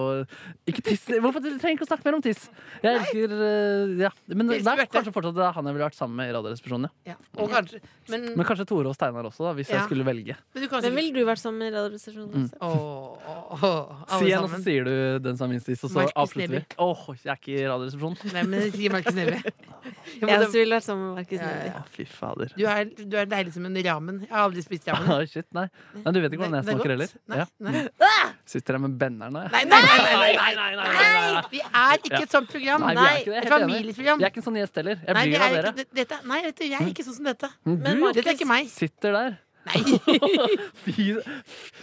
Speaker 7: Ikke tiss. Hvorfor dere trenger ikke å snakke mer om tiss? Jeg elsker øh, Ja. Men det
Speaker 4: Jeg elsker
Speaker 7: er
Speaker 4: Bjarte.
Speaker 7: kanskje fortsatt det er han jeg ville vært sammen med i Radioresepsjonen. Ja.
Speaker 4: Ja, og kanskje, men,
Speaker 7: Men kanskje Tore og Steinar også, da, hvis
Speaker 4: Ja.
Speaker 7: jeg skulle velge.
Speaker 4: men du kan
Speaker 7: Altså,
Speaker 3: Hvem
Speaker 4: sikkert
Speaker 3: ville du vært sammen med i
Speaker 7: Mm.
Speaker 3: Radioresepsjonen?
Speaker 4: Åh, åh, åh,
Speaker 7: Si
Speaker 4: alle
Speaker 7: en, og så
Speaker 4: sammen.
Speaker 7: sier du den som har minst tiss, og så
Speaker 4: Markus
Speaker 7: avslutter vi.
Speaker 4: Neby.
Speaker 7: Åh, jeg er ikke i Radioresepsjonen.
Speaker 4: Nei, men si Markus Neby.
Speaker 3: Jeg også ville vært sammen med Markus
Speaker 4: Ja, ja,
Speaker 3: Neby.
Speaker 7: Ja, fy fader.
Speaker 4: Du er, du er deilig som en ramen. Jeg har aldri spist ramen.
Speaker 7: Ah, shit, nei. nei. Du vet ikke hvordan
Speaker 4: Det-
Speaker 7: jeg
Speaker 4: det er
Speaker 7: smaker
Speaker 4: godt.
Speaker 7: heller?
Speaker 4: Nei,
Speaker 7: Ja.
Speaker 4: nei.
Speaker 7: Sitter her med benneren nå, jeg.
Speaker 4: Nei, nei, nei, nei, nei,
Speaker 7: nei, nei,
Speaker 4: nei! Vi er ikke et sånt program.
Speaker 7: Nei, vi er
Speaker 4: Nei,
Speaker 7: ikke det. Jeg er
Speaker 4: et
Speaker 7: helt enig.
Speaker 4: familieprogram.
Speaker 7: Jeg er ikke en sånn gjest heller. Jeg
Speaker 4: Nei, vi
Speaker 7: blir av
Speaker 4: er
Speaker 7: dere. Mm.
Speaker 4: ikke, dette, nei, vet du, jeg er ikke sånn som dette.
Speaker 7: Men
Speaker 3: Markus-
Speaker 7: du
Speaker 4: Dette er ikke meg.
Speaker 7: sitter der. Fy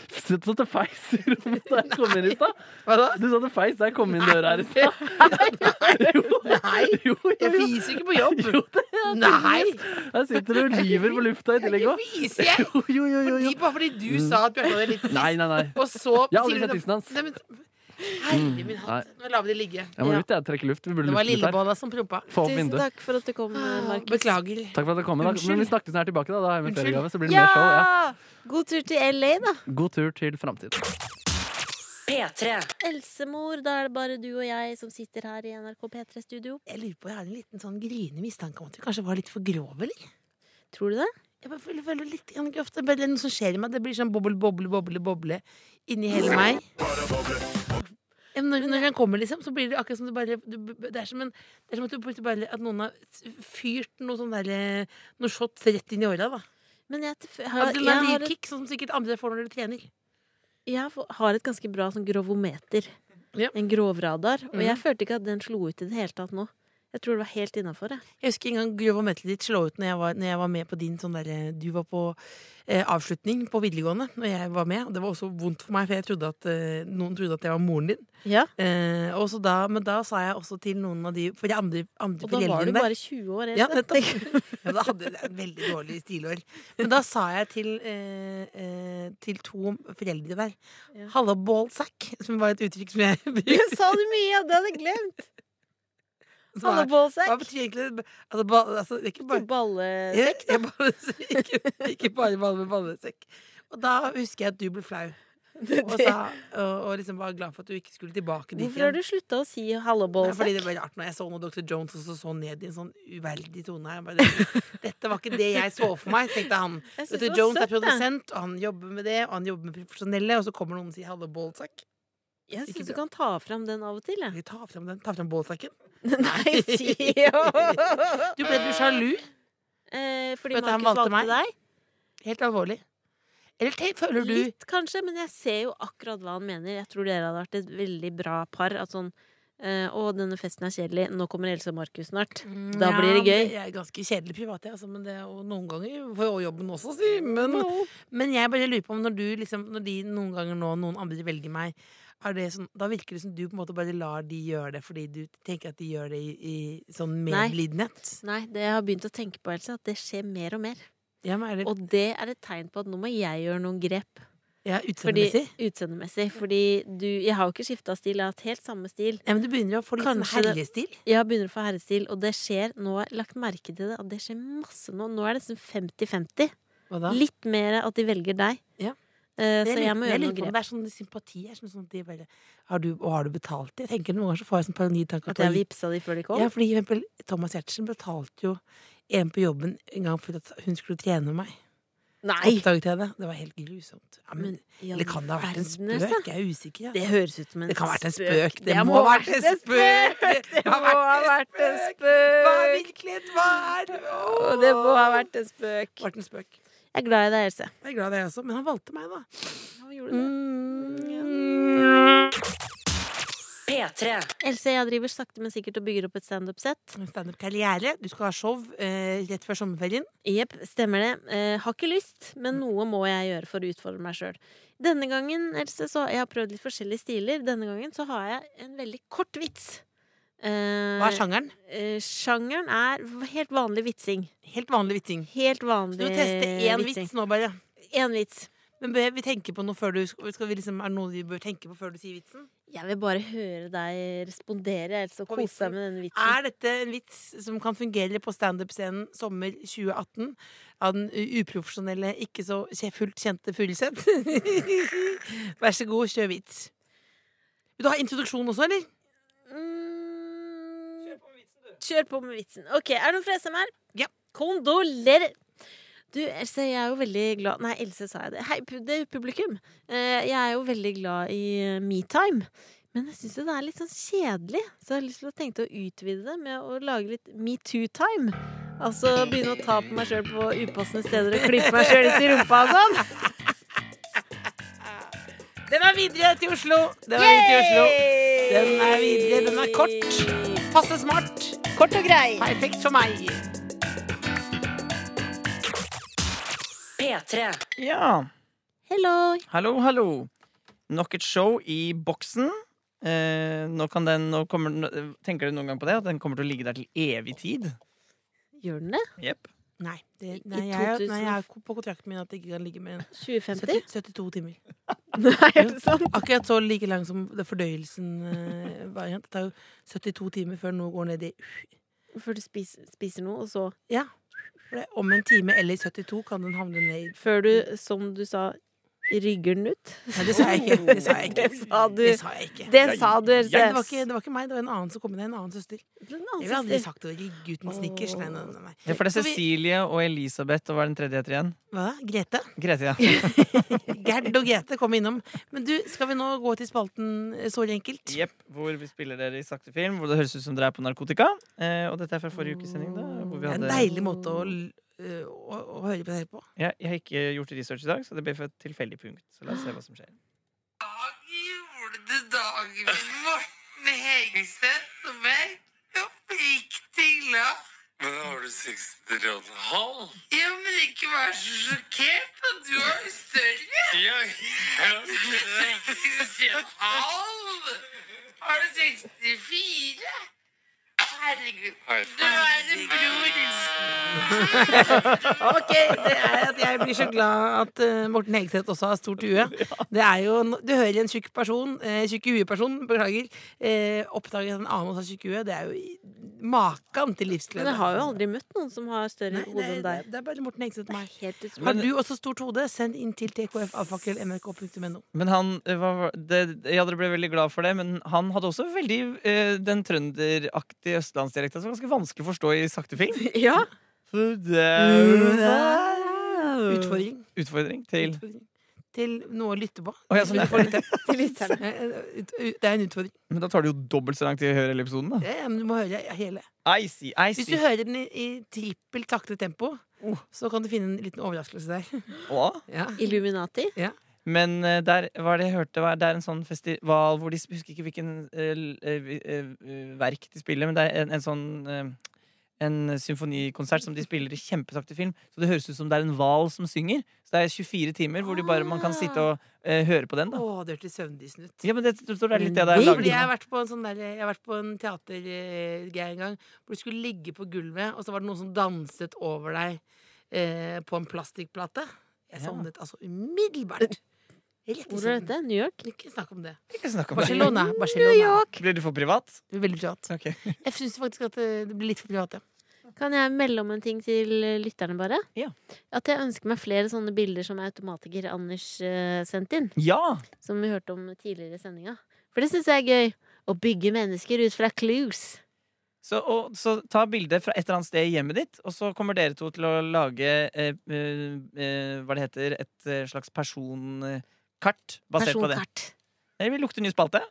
Speaker 7: Sitt sånn til feis i rommet da jeg kom inn i stad.
Speaker 4: Hva da?
Speaker 7: Du sa til feis da jeg kom inn døra her i stad. Jo,
Speaker 4: Nei,
Speaker 7: jo,
Speaker 4: jeg
Speaker 7: jo.
Speaker 4: fiser ikke på jobb.
Speaker 7: Jo, det er
Speaker 4: Nei!
Speaker 7: Her sitter du og lyver på lufta i tillegg
Speaker 4: Jeg
Speaker 7: òg.
Speaker 4: fiser, jeg.
Speaker 7: Jo, jo, jo, jo, jo.
Speaker 4: Fordi, bare fordi du sa at Bjarte hadde litt
Speaker 7: Nei, nei, nei.
Speaker 4: Og så
Speaker 7: Jeg har aldri
Speaker 4: sier du
Speaker 7: sett
Speaker 4: det-
Speaker 7: tissen hans. Mm,
Speaker 4: Nei, men- Herre min hatt. Nå lar vi det ligge.
Speaker 7: Jeg må
Speaker 3: Ja.
Speaker 7: ut, jeg. Trekke luft. Vi burde
Speaker 4: Det var
Speaker 7: lufte litt her.
Speaker 4: Lillebolla som prompa.
Speaker 7: Få opp
Speaker 3: Tusen
Speaker 7: vinduet.
Speaker 3: takk for at du kom,
Speaker 7: Ah,
Speaker 3: Markus.
Speaker 4: Beklager.
Speaker 7: Takk for at dere kom. i dag. Men vi snakkes når jeg er tilbake. Da Da har jeg med
Speaker 4: Unnskyld.
Speaker 7: feriegave, så blir det
Speaker 3: Ja!
Speaker 7: mer show. Ja.
Speaker 3: God tur til LA, da.
Speaker 7: God tur til framtiden.
Speaker 1: P3.
Speaker 3: Elsemor, da er det bare du og jeg som sitter her i NRK P3-studio.
Speaker 4: Jeg lurer på, jeg har en liten sånn gryende mistanke om at vi kanskje var litt for grove, eller?
Speaker 3: Tror du det?
Speaker 4: Jeg bare føler, føler litt grann grøft. Det er bare noe som skjer i meg. Det blir sånn boble, boble, boble, boble inni hele meg. Ja, men Når, når den kommer, liksom, så blir det akkurat som du bare du, Det er som, en, det er som at, du bare- bare, at noen har fyrt noe sånn derre Noe shots rett inn i åra, da.
Speaker 3: Men jeg, jeg, har, jeg, har et,
Speaker 4: Adrenalinkick, sånn som sikkert andre får når de trener.
Speaker 3: jeg har- har et ganske bra sånn grovometer.
Speaker 4: Ja.
Speaker 3: En grovradar. Og
Speaker 4: Mhm.
Speaker 3: jeg følte ikke at den slo ut i det hele tatt nå. Jeg tror det var helt innafor.
Speaker 4: Jeg husker en gang grovometeret ditt slå ut når jeg, var, når jeg var med på din sånn derre Du var på eh, avslutning på videregående når jeg var med, og det var også vondt for meg, for jeg trodde at eh, noen trodde at jeg var moren din.
Speaker 3: Ja,
Speaker 4: Eh, og så da, men da sa jeg også til noen av de For de andre, andre
Speaker 3: og da var du
Speaker 4: foreldrene der.
Speaker 3: bare 20 år.
Speaker 4: Ja,
Speaker 3: Else.
Speaker 4: nettopp. Ja, da hadde jeg et veldig dårlig stilår. Men da sa jeg til, eh, eh, til to foreldre der
Speaker 3: Ja.
Speaker 4: Halla, ballsack, som var et uttrykk som jeg brukte.
Speaker 3: Du sa det mye, og det hadde jeg glemt!
Speaker 4: som er- Hva
Speaker 3: Hallebålsekk.
Speaker 4: betyr egentlig det? altså, ba, altså, det er ikke bare
Speaker 3: Ballesekk.
Speaker 4: Jeg, jeg bare, ikke, ikke bare balle med ballesekk. Og da husker jeg at du ble flau. Og, sa, og, og liksom var glad for at du ikke skulle tilbake dit
Speaker 3: Hvorfor har du slutta å si
Speaker 4: Nei, fordi det
Speaker 3: hallebålsekk?
Speaker 4: ble rart når jeg så noe Dr. Jones og så så han ned i en sånn uverdig tone. Jeg bare, Dette var ikke det jeg så for meg, tenkte han.
Speaker 3: Jeg synes
Speaker 4: Dr.
Speaker 3: det var
Speaker 4: Jones er
Speaker 3: søtt, jeg.
Speaker 4: produsent, og han jobber med det, og han jobber med profesjonelle, og så kommer noen og sier 'hallo, Ballsack'.
Speaker 3: Jeg
Speaker 4: Ikke
Speaker 3: syns du
Speaker 4: bra.
Speaker 3: kan ta fram den av og til. Jeg.
Speaker 4: Ok, Ta fram den. Ta fram ballsacken.
Speaker 3: Nei, si
Speaker 4: Du ble du sjalu?
Speaker 3: Eh, fordi
Speaker 4: Vet du, han
Speaker 3: Markus
Speaker 4: valgte
Speaker 3: valgte,
Speaker 4: meg.
Speaker 3: deg?
Speaker 4: Helt alvorlig. Eller te, føler du
Speaker 3: Litt, kanskje, men jeg ser jo akkurat hva han mener. Jeg tror dere hadde vært et veldig bra par. At sånn eh, 'Å, denne festen er kjedelig. Nå kommer Else og Markus snart.'
Speaker 4: Mm,
Speaker 3: Da blir det
Speaker 4: men
Speaker 3: gøy.
Speaker 4: Jeg er ganske kjedelig privat, jeg, altså, men det, og noen ganger får jeg jobben også, si. Men, men jeg bare lurer på om når du liksom Når de noen ganger nå, noen andre velger meg, er det sånn, da virker det som du på en måte bare lar de gjøre det fordi du tenker at de gjør det i, i sånn
Speaker 3: Nei.
Speaker 4: medlidenhet?
Speaker 3: Nei, det jeg har begynt å tenke på, Else, at det skjer mer og mer.
Speaker 4: Ja, men er det
Speaker 3: Og det er et tegn på at nå må jeg gjøre noen grep.
Speaker 4: ja,
Speaker 3: Fordi,
Speaker 4: utseendemessig?
Speaker 3: utseendemessig. Fordi du Jeg har jo ikke skifta stil, jeg har hatt helt samme stil.
Speaker 4: Ja, men du begynner jo å få litt sånn
Speaker 3: Kanskje det-
Speaker 4: herrestil.
Speaker 3: Jeg begynner å få herrestil, og det skjer Nå har jeg lagt merke til det, at det skjer masse nå. Nå er det nesten 50-50.
Speaker 4: Hva da?
Speaker 3: Litt mer at de velger deg.
Speaker 4: Ja.
Speaker 3: Eh,
Speaker 4: Det er
Speaker 3: så
Speaker 4: litt-
Speaker 3: jeg må
Speaker 4: det er
Speaker 3: gjøre
Speaker 4: litt
Speaker 3: noen
Speaker 4: på om
Speaker 3: grep.
Speaker 4: Det er sånn sympati. Er sånn, sånn at de bare, har du, og har du betalt det? Jeg tenker Noen ganger så får jeg sånn paranoid-tanke
Speaker 3: At jeg vippsa de før de kom.
Speaker 4: Ja, fordi for eksempel, Thomas Giertsen betalte jo en på jobben en gang for at hun skulle trene meg. Så
Speaker 3: Nei!
Speaker 4: Oppdaget jeg det. Det var helt grusomt. Ja, men,
Speaker 3: i all
Speaker 4: eller kan det ha vært en
Speaker 3: verden, altså.
Speaker 4: spøk? Jeg er usikker.
Speaker 3: Det
Speaker 4: Ja.
Speaker 3: høres ut som en
Speaker 4: Det kan ha vært en
Speaker 3: spøk.
Speaker 4: spøk. Det må ha vært en spøk! Det
Speaker 3: Det må ha vært en spøk!
Speaker 4: Hva er virkelighet? Hva er
Speaker 3: Å, Det må ha vært en spøk.
Speaker 4: Vært en spøk.
Speaker 3: Jeg er glad i deg, Else.
Speaker 4: Jeg er glad i deg også, men han valgte meg, da.
Speaker 1: P3.
Speaker 3: Else, jeg driver sakte, men sikkert og bygger opp et standup-sett.
Speaker 4: Standup-karriere. Du skal ha show eh, rett før sommerferien.
Speaker 3: Jepp, stemmer det. Eh, har ikke lyst, men noe må jeg gjøre for å utfordre meg sjøl. Denne gangen, Else, så jeg har prøvd litt forskjellige stiler. Denne gangen så har jeg en veldig kort vits. Eh,
Speaker 4: Hva er sjangeren?
Speaker 3: Eh, sjangeren er v- helt vanlig vitsing.
Speaker 4: Helt vanlig vitsing.
Speaker 3: Helt
Speaker 4: Så
Speaker 3: vanlig
Speaker 4: du teste én
Speaker 3: vitsing.
Speaker 4: vits nå, bare.
Speaker 3: Én vits.
Speaker 4: Men bør vi tenke på noe før du skal vi liksom, Er det noe vi bør tenke på før du sier vitsen?
Speaker 3: Jeg vil bare høre deg respondere, Else, og
Speaker 4: På
Speaker 3: kose
Speaker 4: vitsen.
Speaker 3: deg med denne vitsen.
Speaker 4: Er dette en vits som kan fungere på standup-scenen sommer 2018? Av den uprofesjonelle, ikke så kje- fullt kjente Furuseth? Vær så god, kjør vits. Vil du ha introduksjon også, eller?
Speaker 5: Kjør
Speaker 3: Mm,
Speaker 5: på med vitsen, du.
Speaker 3: Kjør på med vitsen. Ok, Er det noen fra SMR?
Speaker 4: Ja.
Speaker 3: Kondolerer! Du, Else, jeg er jo veldig glad Nei, Else, sa jeg det. Hei, pu- det er publikum. Eh, Jeg er jo veldig glad i eh, metime. Men jeg syns jo det er litt sånn kjedelig, så jeg har lyst til å tenke å utvide det med å lage litt metoo-time. Altså begynne å ta på meg sjøl på upassende steder og klippe meg sjøl litt i rumpa og sånn.
Speaker 4: Den er videre til Oslo! Den er videre til Oslo. Den er videre. Den er kort. Passe smart.
Speaker 3: Kort og grei.
Speaker 4: Perfekt for meg.
Speaker 1: P3.
Speaker 6: Ja.
Speaker 3: Hello.
Speaker 6: Hallo, hallo. Nok et show i boksen. Eh, nå kan den, nå kommer, den- tenker du noen gang på det? At den kommer til å ligge der til evig tid?
Speaker 3: Gjør den det?
Speaker 6: Jepp.
Speaker 4: Nei, det,
Speaker 3: I
Speaker 4: nei, jeg,
Speaker 3: 2000.
Speaker 4: nei, jeg er på kontrakten min at det ikke kan ligge mer enn
Speaker 3: 2050?
Speaker 4: 70 72 timer.
Speaker 3: Nei, er det sant?
Speaker 4: Akkurat så like lang som det fordøyelsen eh, var. igjen. Det tar jo 72 timer før noe går ned i
Speaker 3: Før du spiser, spiser noe, og så
Speaker 4: Ja. For det- Om en time eller 72 kan den havne ned i
Speaker 3: Før du, som du sa, Rygger den ut?
Speaker 4: Nei, det sa jeg ikke. Det sa jeg ikke.
Speaker 3: Det sa du.
Speaker 4: Det sa jeg ikke.
Speaker 3: Det sa du,
Speaker 4: Ja, det, var
Speaker 3: Elseth.
Speaker 4: ikke, det var ikke meg, det var en annen som kom inn. En annen søster. Jeg ville aldri sagt det. Rygg ut med snickers. Nei, nei, nei, nei.
Speaker 6: Ja, for det er
Speaker 4: Så vi-
Speaker 6: Cecilie og Elisabeth og hva er den tredje heter igjen?
Speaker 4: Hva da? Grete?
Speaker 6: Grete, ja.
Speaker 4: Gerd og Grete kom innom. Men du, skal vi nå gå til spalten eh, Såre enkelt?
Speaker 6: Jepp, hvor vi spiller dere i sakte film, hvor det høres ut som dere er på narkotika. Eh, og dette er fra forrige ukes sending, da. Hvor vi
Speaker 4: Det er en
Speaker 6: hadde,
Speaker 4: deilig måte å, l- eh, å, å høre på det her på.
Speaker 6: ja, jeg har ikke gjort research i dag, så det ble for et tilfeldig punkt. Så la oss se hva som skjer.
Speaker 8: gjorde dagen min Morten Hegestedt og meg oppriktig glad. Men har du 63,5? Ja, men ikke vær så sjokkert at du har jo større. Ja, ja. 63,5? Har du 64? Herregud, du er en bror.
Speaker 4: Ok, det er at jeg blir så glad at eh, Morten Hegseth også har stort hue. Det er jo, no- Du hører en tjukk person, uh, tjukk hueperson, beklager, uh, oppdager at en annen også har tjukk hue. Det er jo i- makan til
Speaker 3: Men
Speaker 4: livsglede.
Speaker 3: jeg har jo aldri møtt noen som har større
Speaker 4: Nei,
Speaker 3: hode enn
Speaker 4: det,
Speaker 3: deg.
Speaker 4: det er bare Morten Hegseth og meg.
Speaker 3: Helt utrolig.
Speaker 4: Har du også stort hode, send inn til tkfalfakrøllmrk.no.
Speaker 6: Men han eh, hva, var- det, Ja, dere ble veldig glad for det, men han hadde også veldig eh, den trønderaktige østlandsdialekta som var ganske vanskelig å forstå i sakte film.
Speaker 3: Ja.
Speaker 6: Så det er-
Speaker 4: Utfordring.
Speaker 6: Utfordring til
Speaker 4: Utfordring. Til noe å lytte på.
Speaker 6: Å, ja, sånn, ja.
Speaker 4: Til lytte-
Speaker 3: Til lytterne.
Speaker 4: Eh, ut- ut- Det er en utfordring.
Speaker 6: Men da tar det jo dobbelt så lang tid å høre hele episoden, da.
Speaker 4: Ja, ja, men du må høre hele.
Speaker 6: I see, I
Speaker 4: Hvis du
Speaker 6: see.
Speaker 4: hører den i, i trippelt sakte tempo,
Speaker 3: Oh.
Speaker 4: så kan du finne en liten overraskelse der.
Speaker 6: Hva?
Speaker 4: Ja.
Speaker 3: Illuminati.
Speaker 6: Men eh, der var det jeg hørte var, Det er en sånn festival hvor de sp- husker ikke hvilken eh, l- eh, vi- eh, eh, verk de spiller, men det er en, en sånn eh, en symfonikonsert som de spiller i kjempesakte film. Så det høres ut som det er en hval som synger. Så det er 24 timer hvor de bare, man kan sitte og eh, høre på den. da
Speaker 4: Å, det hørtes søvndysen ut.
Speaker 6: Ja, men det, jeg tror det er litt det det er
Speaker 3: Men
Speaker 6: laget
Speaker 4: Fordi jeg har
Speaker 6: til.
Speaker 4: vært på en sånn der, Jeg har vært på en teatergreie en gang hvor du skulle ligge på gulvet, og så var det noen som danset over deg eh, på en plastikkplate. Jeg
Speaker 6: Ja.
Speaker 4: sovnet altså umiddelbart. Rett i
Speaker 3: Hvor er
Speaker 4: søvnen.
Speaker 3: dette? New York?
Speaker 4: Ikke snakk om det.
Speaker 6: Ikke snakk om det.
Speaker 4: Barcelona. Barcelona.
Speaker 6: Blir du for privat?
Speaker 4: Veldig privat.
Speaker 6: Ok.
Speaker 4: Jeg syns faktisk at eh, det blir litt for privat. ja.
Speaker 3: Kan jeg melde om en ting til eh, lytterne, bare?
Speaker 6: Ja.
Speaker 3: At jeg ønsker meg flere sånne bilder som automatiker Anders eh, sendte inn.
Speaker 6: Ja!
Speaker 3: Som vi hørte om tidligere i sendinga. For det syns jeg er gøy. Å bygge mennesker ut fra clues.
Speaker 6: Så, og, så ta bilde fra et eller annet sted i hjemmet ditt, og så kommer dere to til å lage eh, eh, eh, hva det heter, et eh, slags personkart basert på det.
Speaker 3: Personkart.
Speaker 6: Jeg vil lukte ny spalte.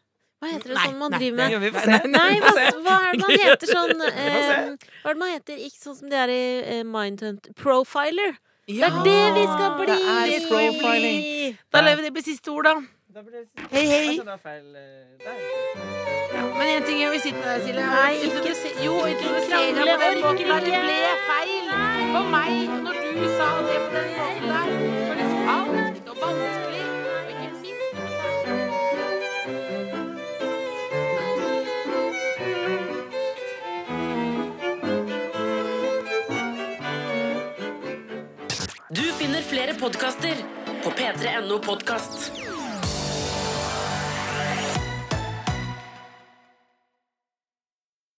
Speaker 3: Hva heter det
Speaker 4: Nei,
Speaker 3: sånn man
Speaker 4: nei,
Speaker 3: driver
Speaker 6: Ja,
Speaker 3: med?
Speaker 6: vi får se.
Speaker 3: Nei,
Speaker 6: Vi
Speaker 3: hva,
Speaker 6: får se.
Speaker 3: hva er det man heter sånn eh,
Speaker 6: får
Speaker 3: Hva er det man heter? Ikke sånn som det er i eh, Mindhunt Profiler. Det er det vi skal bli!
Speaker 6: det er profiling.
Speaker 4: Da lar vi det bli siste ord, da. Hei, hei.
Speaker 6: eh,
Speaker 4: Men en ting jeg vil si til deg, Silje Nei, ikke si Jo, introdusere
Speaker 3: krangle,
Speaker 4: på den
Speaker 3: orker
Speaker 4: måten der det
Speaker 3: ikke.
Speaker 4: ble feil for meg når du sa det på den måten der. For det var alt og vanskelig. Og ikke minst
Speaker 1: Du finner flere podkaster på p3.no podkast.